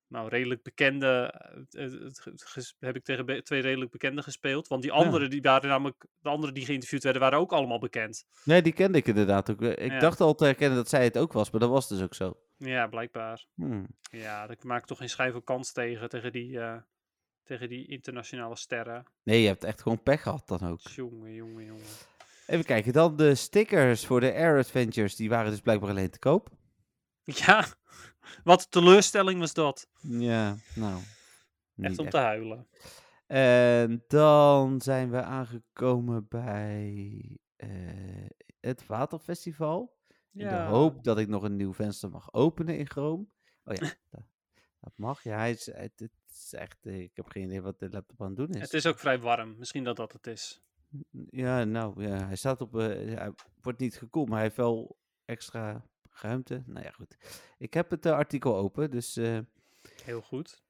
nou, redelijk bekende. eh, eh, het ge- ges- heb ik tegen be- twee redelijk bekende gespeeld. Want die
Ja.
anderen die waren namelijk. De anderen die geïnterviewd werden, waren ook allemaal bekend.
Nee, die kende ik inderdaad ook. Eh, Ik
Ja.
dacht al te herkennen dat zij het ook was, maar dat was dus ook zo.
Ja, blijkbaar.
Hmm.
Ja, ik maak toch geen schijn van kans tegen. Tegen die, eh, tegen die internationale sterren.
Nee, je hebt echt gewoon pech gehad dan ook.
Jongen, jongen, jongen.
Even kijken, dan de stickers voor de Air Adventures, die waren dus blijkbaar alleen te koop.
Ja, wat een teleurstelling was dat.
Ja, nou.
Echt
niet
om te huilen.
En dan zijn we aangekomen bij eh, het Waterfestival. In de hoop dat ik nog een nieuw venster mag openen in Chrome. Oh ja, dat, dat mag. Ja, hij is, het, het is echt, eh, ik heb geen idee wat de laptop aan het doen is.
Het is ook vrij warm. Misschien dat dat het is.
Ja, nou, ja, hij staat op, eh, hij wordt niet gekoeld, maar hij heeft wel extra ruimte. Nou ja, goed. Ik heb het eh, artikel open, dus eh, eh,
Heel goed.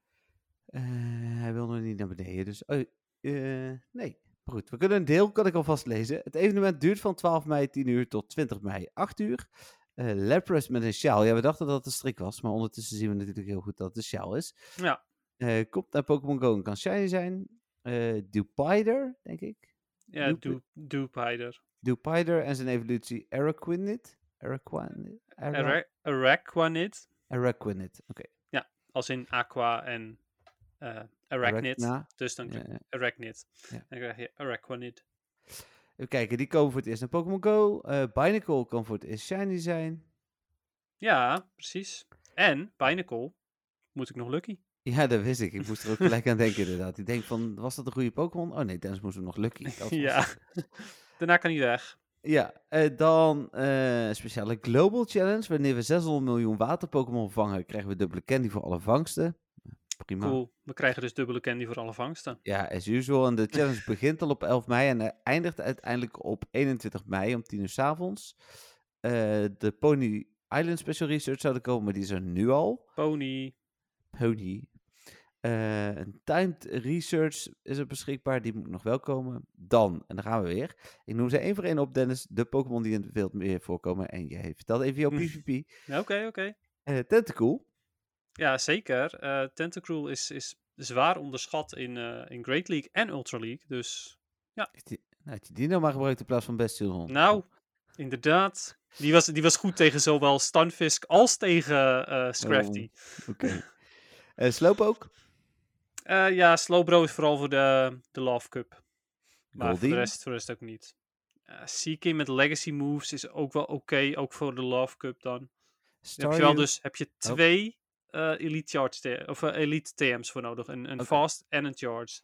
hij wil nog niet naar beneden. Dus, oh, eh, nee. Maar goed, we kunnen een deel, kan ik alvast lezen. Het evenement duurt van 12 mei 10 uur tot 20 mei 8 uur. Eh Leprous met een sjaal. Ja, we dachten dat het een strik was, maar ondertussen zien we natuurlijk heel goed dat het een sjaal is.
Ja.
Eh, komt naar Pokémon Go en kan shiny zijn. Eh Dupider, denk ik.
Ja,
Doep-
doe, doe Pider.
Dupider en zijn evolutie Araquanid. Araquanid? Ara-
Ara- Araquanid.
Araquanid, oké.
Als in aqua en eh arachnid.
Arachna,
Dus dan
ja,
krijg je
ja.
arachnid.
Ja.
Dan krijg je arachnid.
Even kijken, die komen voor het eerst naar Pokémon Go. Eh Binacle kan voor het eerst shiny zijn.
Ja, precies. En Pinnacle moet ik nog lucky.
Ja, dat wist ik. Ik moest er ook gelijk aan denken inderdaad. Ik denk van, was dat een goede Pokémon? Oh nee, Dennis moest hem nog Lucky. Dat was
Ja.
het.
Daarna kan hij weg.
ja eh, dan eh speciale Global Challenge. Wanneer we 600 miljoen water-Pokémon vangen, krijgen we dubbele candy voor alle vangsten. Prima.
Cool. We krijgen dus dubbele candy voor alle vangsten.
Ja, as usual. En de challenge begint al op 11 mei en eh, eindigt uiteindelijk op 21 mei om 10 uur 's avonds. Eh, de Pony Island Special Research zou er komen, maar die is er nu al.
Pony.
Pony. Eh, een timed research is er beschikbaar, die moet nog wel komen. Dan, en dan gaan we weer. Ik noem ze één voor één op, Dennis. De Pokémon die in het wild meer voorkomen. En jij vertelt even jouw
Hm.
PvP.
Ja, Oké, oké.
Eh Tentacool.
Ja, zeker. Eh Tentacruel is, is zwaar onderschat in, eh, in Great League en Ultra League. Dus
Had je- nou, had je die nou maar gebruikt in plaats van Bestialon?
Nou, inderdaad. Die was, die was goed tegen zowel Stunfisk als tegen eh Scrafty.
Oké. Eh, Slowpoke.
Eh, ja, Slowbro is vooral voor de, de Love Cup. Maar voor de,
Goldeen.
rest, voor de rest ook niet. eh Seeking met legacy moves is ook wel oké, ook voor de Love Cup dan. Dan heb je wel
Staryu-
dus heb je twee eh, elite charge T- of eh, elite TM's voor nodig. Een, een
Oké.
fast en een charge.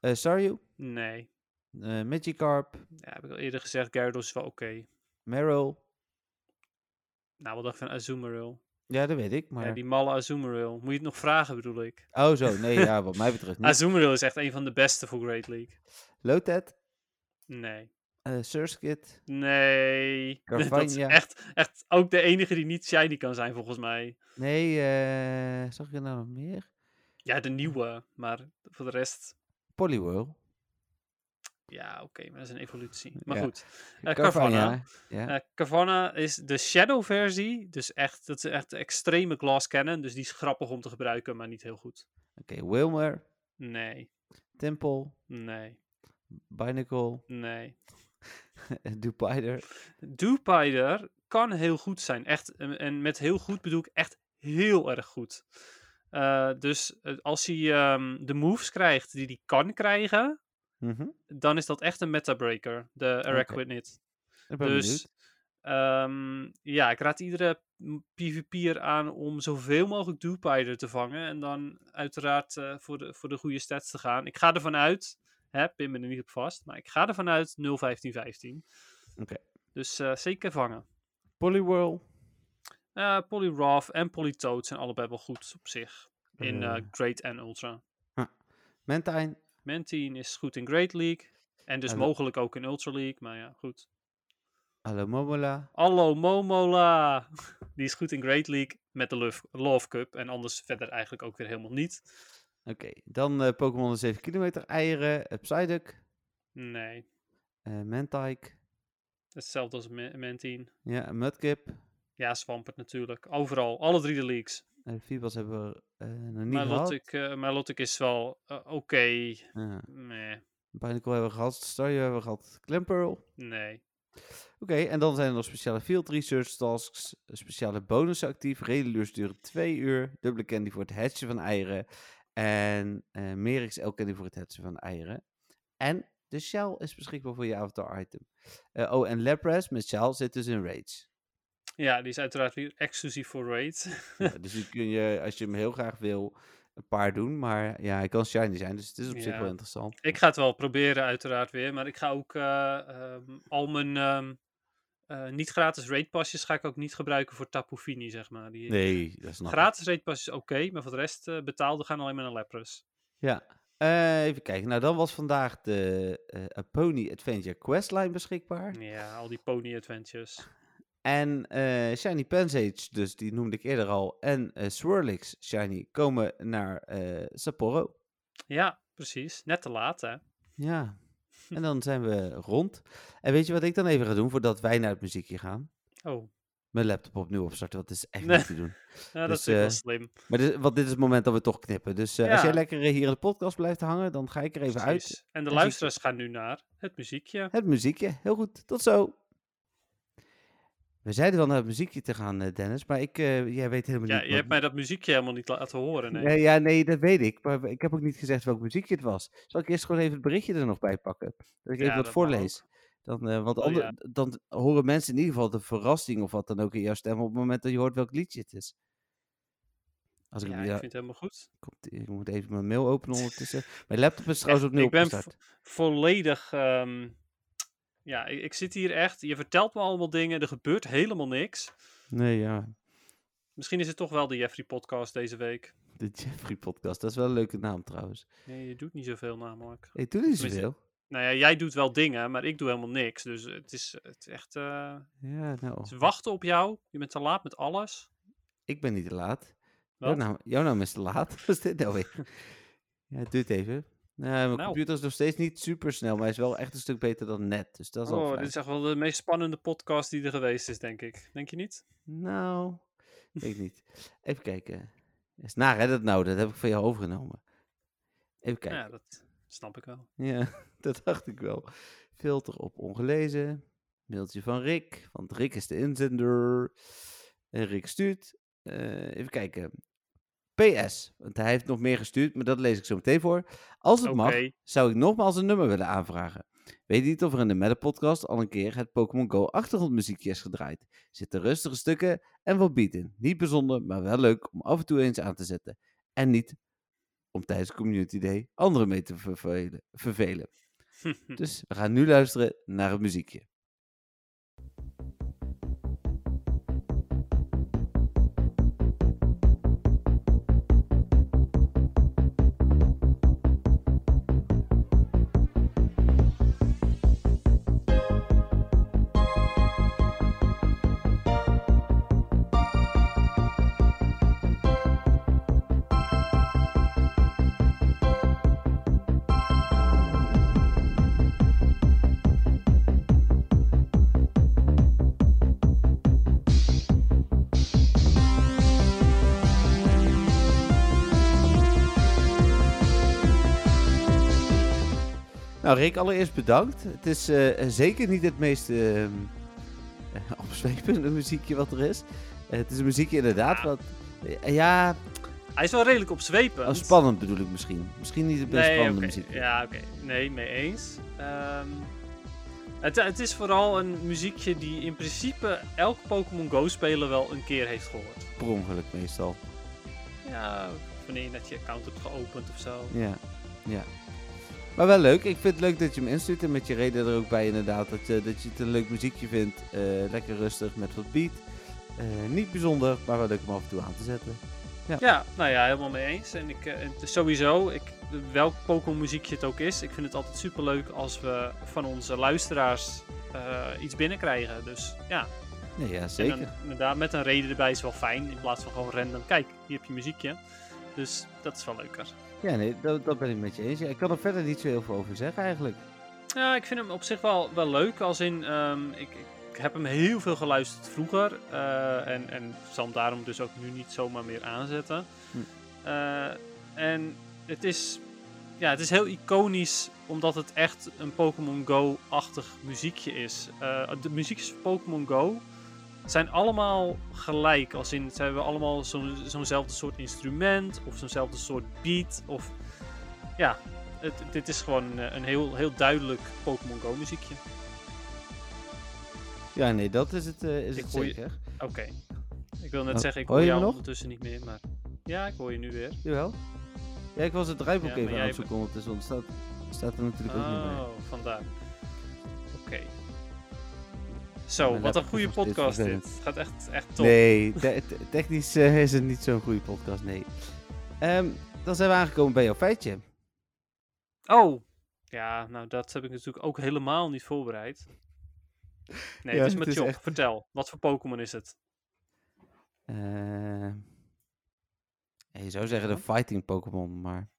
eh, Staryu,
Nee.
eh, Magikarp,
Ja, heb ik al eerder gezegd, Gyarados is wel oké.
Meryl.
Nou, wat dacht ik van Azumarill?
Oh Ja, dat weet ik, maar...
Ja, die malle Azumarill. Moet je het nog vragen, bedoel ik.
Oh zo, nee, ja, wat mij betreft niet.
Azumarill is echt een van de beste voor Great League.
Lotet,
Nee.
eh Surskit,
Nee. Dat is
Carvania.
echt, echt ook de enige die niet shiny kan zijn, volgens mij.
nee, eh, zag ik er nou nog meer?
Ja, de nieuwe. Maar voor de rest...
Poliwhirl.
Ja, oké. maar dat is een evolutie. Maar
Ja.
goed. Eh Carvana.
Carvana. Ja.
Eh, Carvana is de shadow versie. Dus echt, dat is echt de extreme glass cannon. Dus die is grappig om te gebruiken, maar niet heel goed.
Oké, Wilmer,
Nee,
Temple,
nee,
Binacle,
nee.
Dupider.
Dupider kan heel goed zijn. Echt, en en met heel goed bedoel ik echt heel erg goed. Eh, dus eh, als hij ehm, de moves krijgt die hij kan krijgen,
Mhm.
dan is dat echt een metabreaker, de Araquanid.
Ik ben
Dus ehm, ja, ik raad iedere m- PvP'er aan om zoveel mogelijk Dupider te vangen. En dan uiteraard eh, voor, de, voor de goede stats te gaan. Ik ga ervan uit, hè, pin me er niet op vast, maar ik ga ervan uit 0 15 15.
Oké.
Dus eh, zeker vangen.
Poliwhirl.
Eh Poliwrath en Politoed zijn allebei wel goed op zich. In
Eh.
eh, Great en Ultra.
Mentine.
Mantine is goed in Great League. En dus
En de-
mogelijk ook in Ultra League. Maar ja, goed.
Hallo Momola.
Allo Momola. Die is goed in Great League met de Love, Love Cup. En anders verder eigenlijk ook weer helemaal niet.
Oké, dan eh, Pokémon de 7 kilometer eieren. eh, Psyduck.
Nee.
eh, Mantike.
Hetzelfde als Ma- Mantine.
Ja, Mudkip.
Ja, Swampert natuurlijk. Overal. Alle drie de leagues.
Eh Fibas hebben we eh, nog niet gehad.
Milotic, eh Milotic is wel eh, oké.
Ja.
Nee.
Binacle hebben we gehad. Staryu hebben we gehad. Klempearl.
Nee.
Oké, en dan zijn er nog speciale field research tasks, speciale bonussen actief. Redeluurs duren twee uur, dubbele candy voor het hatchen van eieren. En eh Merix elk candy voor het hatchen van eieren. En de shell is beschikbaar voor je avatar item. Eh, oh, en Lapras met shell zit dus in raids.
Ja, die is uiteraard weer exclusief voor Raid.
Ja, dus die kun je, als je hem heel graag wil, een paar doen. Maar ja, hij kan shiny zijn, dus het is op zich
Ja.
wel interessant.
ik ga het wel proberen uiteraard weer. Maar ik ga ook eh, ehm, al mijn ehm, eh, niet gratis Raid pasjes ga ik ook niet gebruiken voor Tapu Fini, zeg maar. Die,
Nee, dat snap ik.
Gratis reetpas is oké, maar voor de rest eh, betaalde gaan alleen maar naar Lepros.
Ja. Eh, even kijken. Nou, dan was vandaag de eh, A Pony Adventure Questline beschikbaar.
Ja, al die pony adventures.
En eh, Shiny Pansage, dus die noemde ik eerder al, en eh, Swirlix Shiny komen naar eh, Sapporo.
Ja, precies. Net te laat, hè?
Ja. En dan zijn we rond. En weet je wat ik dan even ga doen voordat wij naar het muziekje gaan?
Oh,
Mijn laptop opnieuw opstarten, want het is echt
Nee.
niet te doen.
nou, dat
Dus,
is natuurlijk wel
eh,
slim.
Maar dit, want dit is het moment dat we toch knippen. Dus eh, als
Ja.
jij lekker eh, hier in de podcast blijft hangen, dan ga ik er even uit.
Precies. En de
je-
luisteraars gaan nu naar het muziekje.
Het muziekje, heel goed. Tot zo. We zeiden wel naar het muziekje te gaan, eh, Dennis, maar ik, eh, jij weet helemaal
Ja,
niet.
je
wat-
hebt mij dat muziekje helemaal niet laten horen, nee.
Nee, ja, nee, dat weet ik. Maar ik heb ook niet gezegd welk muziekje het was. Zal ik eerst gewoon even het berichtje er nog bij pakken? Dat ik
Ja,
even wat
dat mag
voorlees. Dan, eh, want
Oh,
ander-
ja.
dan horen mensen in ieder geval de verrassing of wat dan ook in jouw stem op het moment dat je hoort welk liedje het is. Als ik,
Ja,
hem-
ik
ja,
vind het helemaal goed.
komt- ik moet even mijn mail openen ondertussen. Mijn laptop is trouwens
Echt,
opnieuw
ik ben
opgestart.
vo- volledig... ehm, ja, ik, ik zit hier echt... Je vertelt me allemaal dingen, er gebeurt helemaal niks.
Nee, ja.
Misschien is het toch wel de Jeffrey-podcast deze week.
De Jeffrey podcast. Dat is wel een leuke naam trouwens.
Nee, je doet niet zoveel namelijk.
Hey, toen is
Tenminste-
veel.
Nou ja, jij doet wel dingen, maar ik doe helemaal niks. Dus het is, het is echt. eh,
Ja, nou.
Ze wachten op jou. Je bent te laat met alles.
Ik ben niet te laat. Jouw
Wat?
naam, jouw naam is te laat. Wat is dit nou weer? ja, het duurt even. Nou, mijn
Nou.
computer is nog steeds niet super snel, maar hij is wel echt een stuk beter dan net. Dus dat is al
Oh,
fijn.
dit is echt wel de meest spannende podcast die er geweest is, denk ik. Denk je niet?
Nou, weet ik niet. Even kijken. Is naar hè, dat nou? Dat heb ik van jou overgenomen. Even kijken.
Ja, dat snap ik wel.
Ja, dat dacht ik wel. Filter op ongelezen. Mailtje van Rick, want Rick is de inzender. En Rick stuurt. Eh, even kijken. PS, want hij heeft nog meer gestuurd, maar dat lees ik zo meteen voor. Als het
Oké.
mag, zou ik nogmaals een nummer willen aanvragen. Weet niet of er in de Meta-podcast al een keer het Pokémon Go achtergrondmuziekje is gedraaid. Zitten rustige stukken en wat beat in. Niet bijzonder, maar wel leuk om af en toe eens aan te zetten. En niet om tijdens Community Day anderen mee te vervelen. vervelen. Dus we gaan nu luisteren naar het muziekje. Nou, Rick, allereerst bedankt. Het is eh, zeker niet het meest ehm, eh, opzwepende muziekje wat er is. Eh, het is een muziekje inderdaad
Ja.
wat... eh, Ja,
Hij is wel redelijk op zwepen.
oh, spannend bedoel ik misschien. Misschien niet het meest
Nee,
spannende
oké.
muziekje.
Ja, oké. Nee, mee eens. Ehm, het, het is vooral een muziekje die in principe elk Pokémon Go-speler wel een keer heeft gehoord.
Per ongeluk meestal.
Ja, wanneer je net je account hebt geopend of zo.
Ja, ja. Maar wel leuk. Ik vind het leuk dat je hem instuurt en met je reden er ook bij inderdaad. Dat, eh, dat je het een leuk muziekje vindt. Eh, lekker rustig met wat beat. Eh, niet bijzonder, maar wel leuk om af en toe aan te zetten.
Ja, nou ja, helemaal mee eens. En ik, eh, het is sowieso, ik, welk Pokémon muziekje het ook is, ik vind het altijd superleuk als we van onze luisteraars eh, iets binnenkrijgen. Dus ja,
Nee, ja,
en
zeker.
dan, inderdaad, met een reden erbij is wel fijn. In plaats van gewoon random, kijk, hier heb je muziekje. Dus dat is wel leuker.
Ja, nee, dat, dat ben ik met je eens. Ja, ik kan er verder niet zo heel veel over zeggen eigenlijk.
Ja, ik vind hem op zich wel, wel leuk. Als in, ehm, ik, ik heb hem heel veel geluisterd vroeger. eh, en, en zal hem daarom dus ook nu niet zomaar meer aanzetten.
Hm.
Eh, en het is, ja, het is heel iconisch, omdat het echt een Pokémon Go-achtig muziekje is. Eh, de muziekjes van Pokémon Go zijn allemaal gelijk. Als in, ze hebben allemaal zo'n- zo'nzelfde soort instrument, of zo'nzelfde soort beat, of het, dit is gewoon eh, een heel, heel duidelijk Pokémon Go muziekje.
Ja, nee, dat is het, eh, is
Ik
het
hoor je-
zeker.
Oké. Ik wil net
Oh,
zeggen, ik
hoor
hoor
je me
jou
nog?
ondertussen niet meer, maar... Ja, ik hoor je nu weer.
Jawel. Ja, ik was het draaiboek
Ja, maar
even aan
jij
het zoeken ondertussen, want het staat, staat er natuurlijk ook niet bij.
Oh, vandaar. Oké. Zo,
Mijn
wat een
laptop
goede
is nog steeds
podcast dit.
vervelend.
Het gaat echt, echt top.
Nee, te- te- technisch eh, is het niet zo'n goede podcast, nee. Ehm, dan zijn we aangekomen bij jouw feitje.
Oh! Ja, nou dat heb ik natuurlijk ook helemaal niet voorbereid. Nee,
Ja,
het is
het
met
is
Job.
echt-
Vertel, wat voor Pokémon is het?
Eh,
Ehm, ja, je zou zeggen de fighting Pokémon, maar...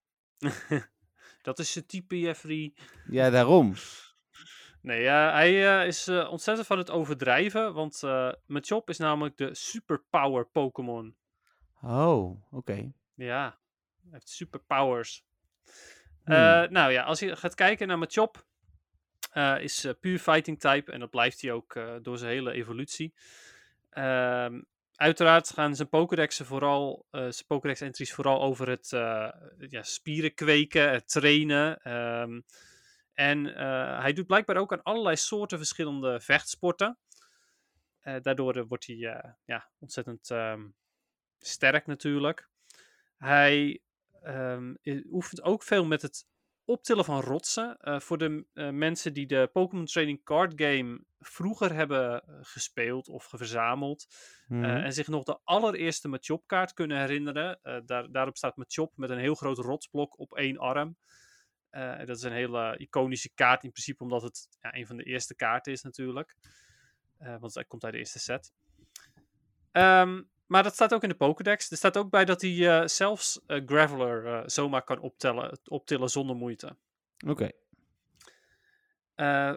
Dat is je type Jeffrey.
Ja, daarom.
Nee, eh, hij eh, is eh, ontzettend van het overdrijven, want eh Machop is namelijk de superpower Pokémon.
Oh, oké.
Ja, hij heeft superpowers.
Hmm.
Eh, nou ja, als je gaat kijken naar Machop, eh, is eh, puur fighting type en dat blijft hij ook eh, door zijn hele evolutie. Ehm, uiteraard gaan zijn Pokédexen vooral, eh, zijn Pokédex-entries vooral over het eh, ja, spieren kweken, het trainen. ehm, en eh, hij doet blijkbaar ook aan allerlei soorten verschillende vechtsporten. Eh, daardoor eh, wordt hij eh, ja, ontzettend ehm, sterk natuurlijk. Hij ehm, i- oefent ook veel met het optillen van rotsen. Eh, voor de m- eh, mensen die de Pokémon Training Card Game vroeger hebben eh, gespeeld of verzameld.
Hmm,
Mhm.
Eh, en zich nog de allereerste Machop-kaart kunnen herinneren. Eh, daar, daarop staat Machop met een heel groot rotsblok op één arm. Eh, dat is een hele iconische kaart in principe, omdat het ja, een van de eerste kaarten is natuurlijk. Eh, want hij komt uit de eerste set. Ehm, maar dat staat ook in de Pokédex. Er staat ook bij dat hij eh, zelfs eh, Graveler eh, zomaar kan optellen, optillen zonder moeite.
Oké.
Eh,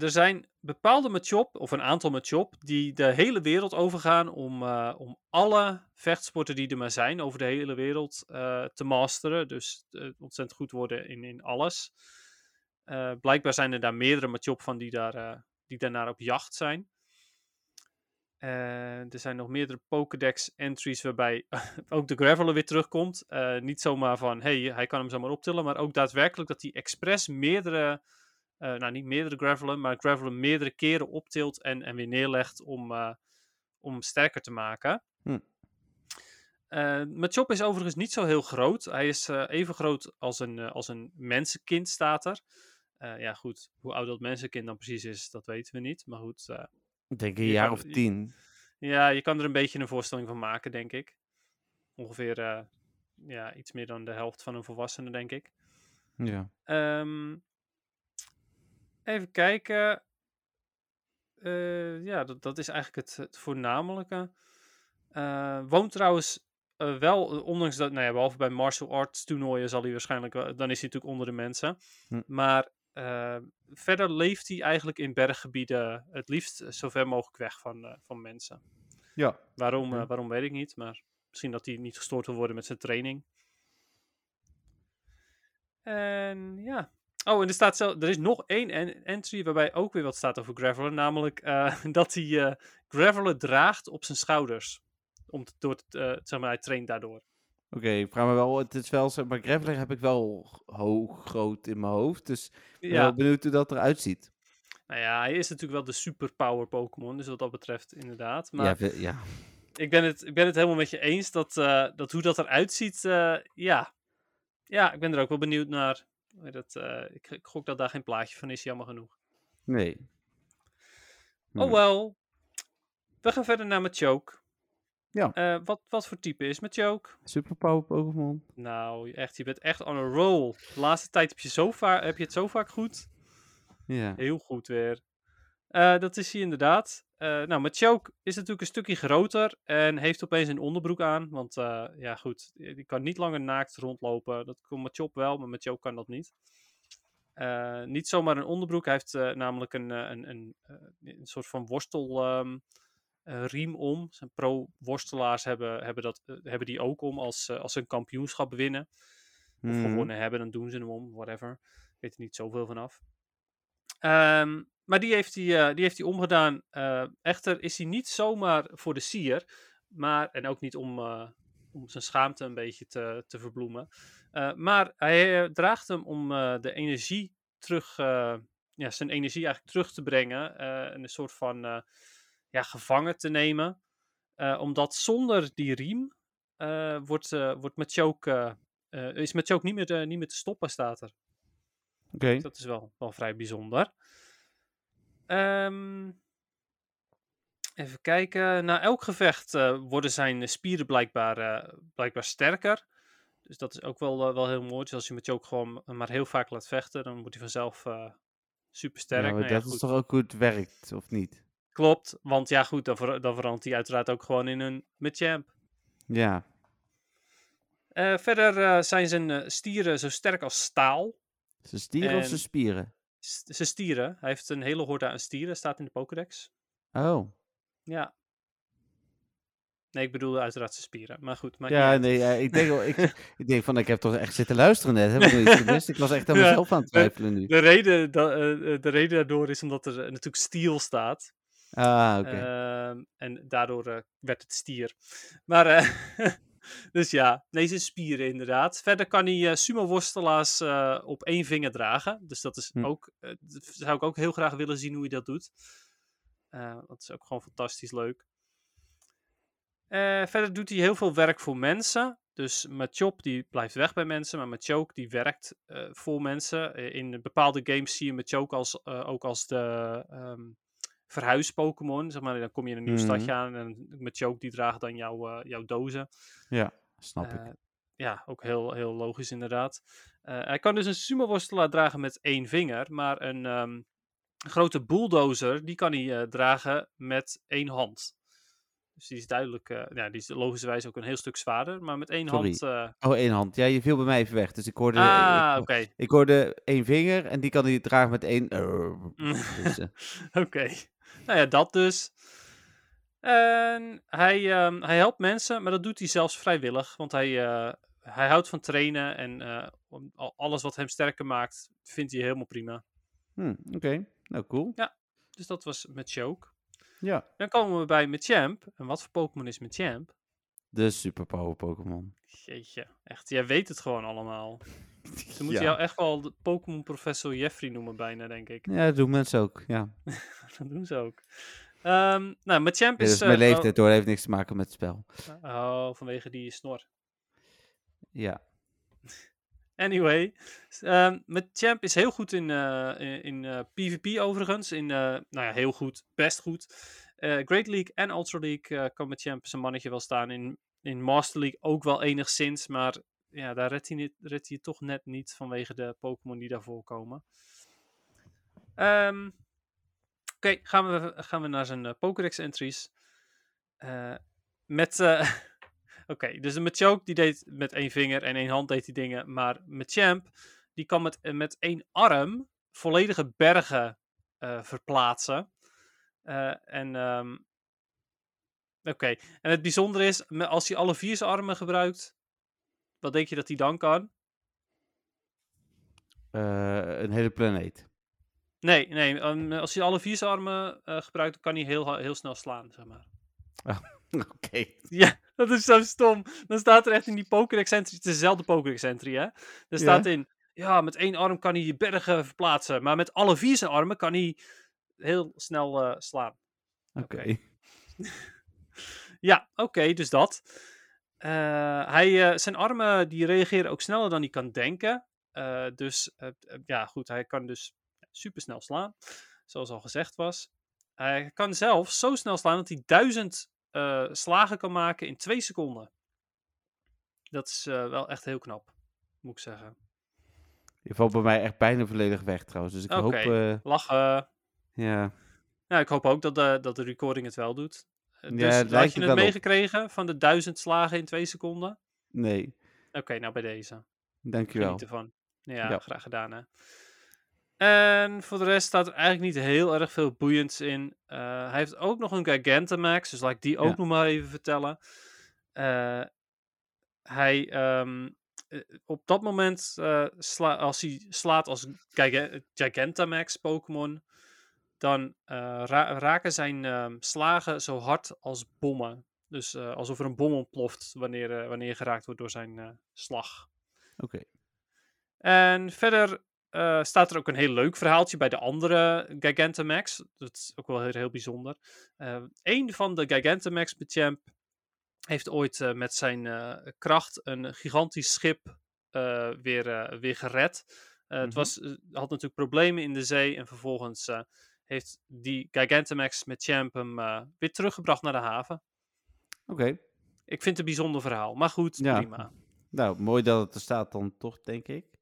er zijn bepaalde Machop, of een aantal Machop, die de hele wereld overgaan om, eh, om alle vechtsporten die er maar zijn over de hele wereld eh, te masteren. Dus eh, ontzettend goed worden in, in alles. Eh, blijkbaar zijn er daar meerdere Machop van die, daar, eh, die daarnaar op jacht zijn. Eh, er zijn nog meerdere Pokédex-entries waarbij ook de Graveler weer terugkomt. Eh, niet zomaar van, hey, hij kan hem zomaar optillen, maar ook daadwerkelijk dat hij expres meerdere eh, nou niet meerdere gravelen, maar gravelen meerdere keren optilt en, en weer neerlegt om, eh, om hem sterker te maken.
Hm.
Eh, Machop is overigens niet zo heel groot. Hij is eh, even groot als een, eh, als een mensenkind, staat er. Eh, ja, goed. Hoe oud dat mensenkind dan precies is, dat weten we niet. Maar goed, eh,
Ik denk een
Je
jaar
kan-
of tien.
ja, je kan er een beetje een voorstelling van maken, denk ik. Ongeveer eh, ja, iets meer dan de helft van een volwassene, denk ik.
Ja.
Ehm, even kijken. Eh, ja, dat, dat is eigenlijk het, het voornamelijke. Eh, woont trouwens eh, wel, eh, ondanks dat, nou ja, behalve bij martial arts toernooien zal hij waarschijnlijk wel, dan is hij natuurlijk onder de mensen.
Hm.
Maar eh, verder leeft hij eigenlijk in berggebieden het liefst eh, zo ver mogelijk weg van, eh, van mensen.
Ja.
Waarom,
Oké.
eh, waarom weet ik niet, maar misschien dat hij niet gestoord wil worden met zijn training. En ja. Oh, en er, staat zelf, er is nog één en- entry waarbij ook weer wat staat over Graveler. Namelijk eh, dat hij eh Graveler draagt op zijn schouders. Om te, door te, eh, zeg maar, hij traint daardoor.
Oké, ik vraag me wel, het is wel, zeg maar Graveler heb ik wel hoog, groot in mijn hoofd. Dus ik ben
Ja,
wel benieuwd hoe dat eruit ziet.
nou ja, hij is natuurlijk wel de superpower Pokémon. Dus wat dat betreft inderdaad. Maar
Ja, we- ja.
ik, ben het, ik ben het helemaal met je eens dat, eh, dat hoe dat eruit ziet. eh, ja. ja, ik ben er ook wel benieuwd naar. Maar Dat, eh, ik, ik gok dat daar geen plaatje van is, jammer genoeg.
Nee.
Oh
Hmm.
wel. We gaan verder naar Machoke.
Ja.
Eh, wat, wat voor type is Machoke?
Superpower Pokémon.
Nou, echt, je bent echt on a roll. De laatste tijd heb je, zo va- heb je het zo vaak goed.
Ja.
Heel goed weer. Eh, dat is hij inderdaad. Eh nou, Machoke is natuurlijk een stukje groter en heeft opeens een onderbroek aan. Want eh, ja, goed, die die kan niet langer naakt rondlopen. Dat kon Machop wel, maar Machoke kan dat niet. Eh, niet zomaar een onderbroek. Hij heeft eh, namelijk een, eh, een, een, eh, een soort van worstelriem riem om. Zijn pro-worstelaars hebben, hebben, dat, eh, hebben die ook om als, eh, als ze een kampioenschap winnen. Of
Mhm.
gewonnen hebben, dan doen ze hem om, whatever. Ik weet er niet zoveel van af. Ehm, maar die heeft hij, eh, die heeft hij omgedaan. Eh, echter is hij niet zomaar voor de sier. Maar, en ook niet om, eh, om zijn schaamte een beetje te, te verbloemen. Eh, maar hij eh, draagt hem om eh, de energie terug, eh, ja, zijn energie eigenlijk terug te brengen. eh, en een soort van eh, ja, gevangen te nemen. Eh, omdat zonder die riem eh, wordt, eh wordt Machoke, eh, eh, is Machoke niet meer, te- niet meer te stoppen, staat er.
Oké.
Dus Dat is wel, wel vrij bijzonder. Ehm, even kijken. Na elk gevecht eh, worden zijn spieren blijkbaar, eh, blijkbaar sterker. Dus dat is ook wel, eh, wel heel mooi. Dus als je met Joke gewoon maar heel vaak laat vechten, dan wordt hij vanzelf eh, super
Ja,
sterk. Nou
maar dat is toch ook hoe het werkt, of niet?
Klopt, want ja goed, dan, ver- dan verandert hij uiteraard ook gewoon in een Machamp.
Ja.
Eh, verder eh, zijn zijn eh, stieren zo sterk als staal.
Zijn stieren of
En-
zijn spieren?
S- zijn stieren. Hij heeft een hele horde aan stieren, staat in de Pokédex.
Oh.
Ja. Nee, ik bedoelde uiteraard zijn spieren. Maar goed, maar
Ja, nee, ja, ik, denk, wel- ik, ik denk van, ik heb toch echt zitten luisteren net. Heb ik nog iets gemist? Ik was echt helemaal
Ja.
zelf aan het twijfelen nu.
de, reden da- eh, eh, de reden daardoor is omdat er eh, natuurlijk stiel staat.
Ah, oké.
Ehm, en daardoor eh, werd het stier. Maar, eh, dus ja, nee, zijn spieren inderdaad. Verder kan hij eh, sumo-worstelaars eh, op één vinger dragen. Dus dat is
Hm.
ook, eh, dat zou ik ook heel graag willen zien hoe hij dat doet. Eh, dat is ook gewoon fantastisch leuk. Eh, verder doet hij heel veel werk voor mensen. Dus Machop die blijft weg bij mensen, maar Machoke die werkt eh, voor mensen. Eh, In bepaalde games zie je Machoke als, eh, ook als de ehm, verhuis-Pokémon. Zeg maar, dan kom je in een nieuw
Mhm.
stadje aan en Machoke die draagt dan jouw, eh, jouw dozen.
Snap ik.
Eh, ja, ook heel, heel logisch inderdaad. Eh, hij kan dus een sumo-worstelaar dragen met één vinger, maar een ehm, grote bulldozer, die kan hij eh, dragen met één hand. Dus die is duidelijk, eh, ja, die is logischerwijs ook een heel stuk zwaarder, maar met één
Sorry.
hand... eh,
Oh, één hand. Ja, je viel bij mij even weg. Dus ik hoorde...
ah,
ik,
oké.
ik hoorde één vinger en die kan hij dragen met één... dus, eh,
Oké. Nou ja, dat dus. En hij, ehm, hij helpt mensen, maar dat doet hij zelfs vrijwillig. Want hij, eh, hij houdt van trainen en eh, om- al- alles wat hem sterker maakt, vindt hij helemaal prima.
hm, oké. Nou, cool.
Dus dat was Machoke.
Ja.
Dan komen we bij Machamp. En wat voor Pokémon is Machamp?
De superpower Pokémon.
Jeetje, echt, jij weet het gewoon allemaal. Ze moeten
ja.
jou echt wel de Pokémon-professor Jeffrey noemen bijna, denk ik.
ja, dat doen mensen ook. Ja.
Dat doen ze ook. Ehm, nou, mijn champ
Dit
is...
is mijn
eh,
leeftijd hoor, heeft niks te maken met het spel.
oh, oh, vanwege die snor.
Ja.
Anyway, s- ehm, mijn champ is heel goed in, eh, in, in, eh, PvP overigens. In, eh, nou ja, heel goed, best goed. Eh, Great League en Ultra League eh, kan mijn champ zijn mannetje wel staan. In, in Master League ook wel enigszins, maar ja, daar redt hij, niet, redt hij het toch net niet vanwege de Pokémon die daarvoor komen. Ehm, Oké, gaan, we, gaan we naar zijn eh, Pokédex entries. Eh, met... eh, Oké, dus de Machoke die deed met één vinger en één hand deed die dingen. Maar Machamp, die kan met, eh, met één arm volledige bergen eh, verplaatsen. Eh, en ehm, oké, en het bijzondere is, me- als hij alle vier zijn armen gebruikt, wat denk je dat hij dan kan?
Eh, een hele planeet.
Nee, nee, ehm, als hij alle vier zijn armen eh, gebruikt, dan kan hij heel, ha- heel snel slaan, zeg maar.
Oké.
Ja, dat is zo stom. Dan staat er echt in die Pokédex entry, het is dezelfde Pokédex entry, hè? Er staat in, ja, met één arm kan hij je bergen verplaatsen, maar met alle vier zijn armen kan hij heel snel eh, slaan.
Oké.
Ja, oké, dus dat. Eh, hij, eh, zijn armen die reageren ook sneller dan hij kan denken. Eh, dus eh, eh, ja, goed, hij kan dus supersnel slaan, zoals al gezegd was. Hij kan zelfs zo snel slaan dat hij duizend eh, slagen kan maken in twee seconden. Dat is eh, wel echt heel knap, moet ik zeggen.
Je valt bij mij echt bijna volledig weg trouwens. Dus ik hoop...
Oké.
eh,
Lachen.
ja.
Nou, ik hoop ook dat de, dat de recording het wel doet. Eh,
Ja,
Dus
het
had
lijkt
je
er
het
wel op.
meegekregen van de duizend slagen in twee seconden?
Nee.
Oké, nou bij deze.
Dankjewel.
Geniet ervan. Ja,
Ja.
graag gedaan. Hè. En voor de rest staat er eigenlijk niet heel erg veel boeiends in. Eh, hij heeft ook nog een Gigantamax, dus laat ik die ook
Ja.
nog maar even vertellen. Eh, hij, ehm, eh, op dat moment, eh, sla- als hij slaat als Giga- Gigantamax Pokémon, dan eh, ra- raken zijn ehm, slagen zo hard als bommen. Dus eh, alsof er een bom ontploft wanneer, eh, wanneer je geraakt wordt door zijn eh, slag.
Oké.
En verder eh, staat er ook een heel leuk verhaaltje bij de andere Gigantamax. Dat is ook wel heel, heel bijzonder. Eén van de Gigantamax Champ heeft ooit eh, met zijn eh, kracht een gigantisch schip eh, weer, eh, weer gered. Eh, Het
Mhm.
was, eh, had natuurlijk problemen in de zee en vervolgens eh, heeft die Gigantamax met Champ hem eh, weer teruggebracht naar de haven.
Oké.
Ik vind het een bijzonder verhaal, maar goed,
Ja.
prima.
Nou, mooi dat het er staat dan toch, denk ik.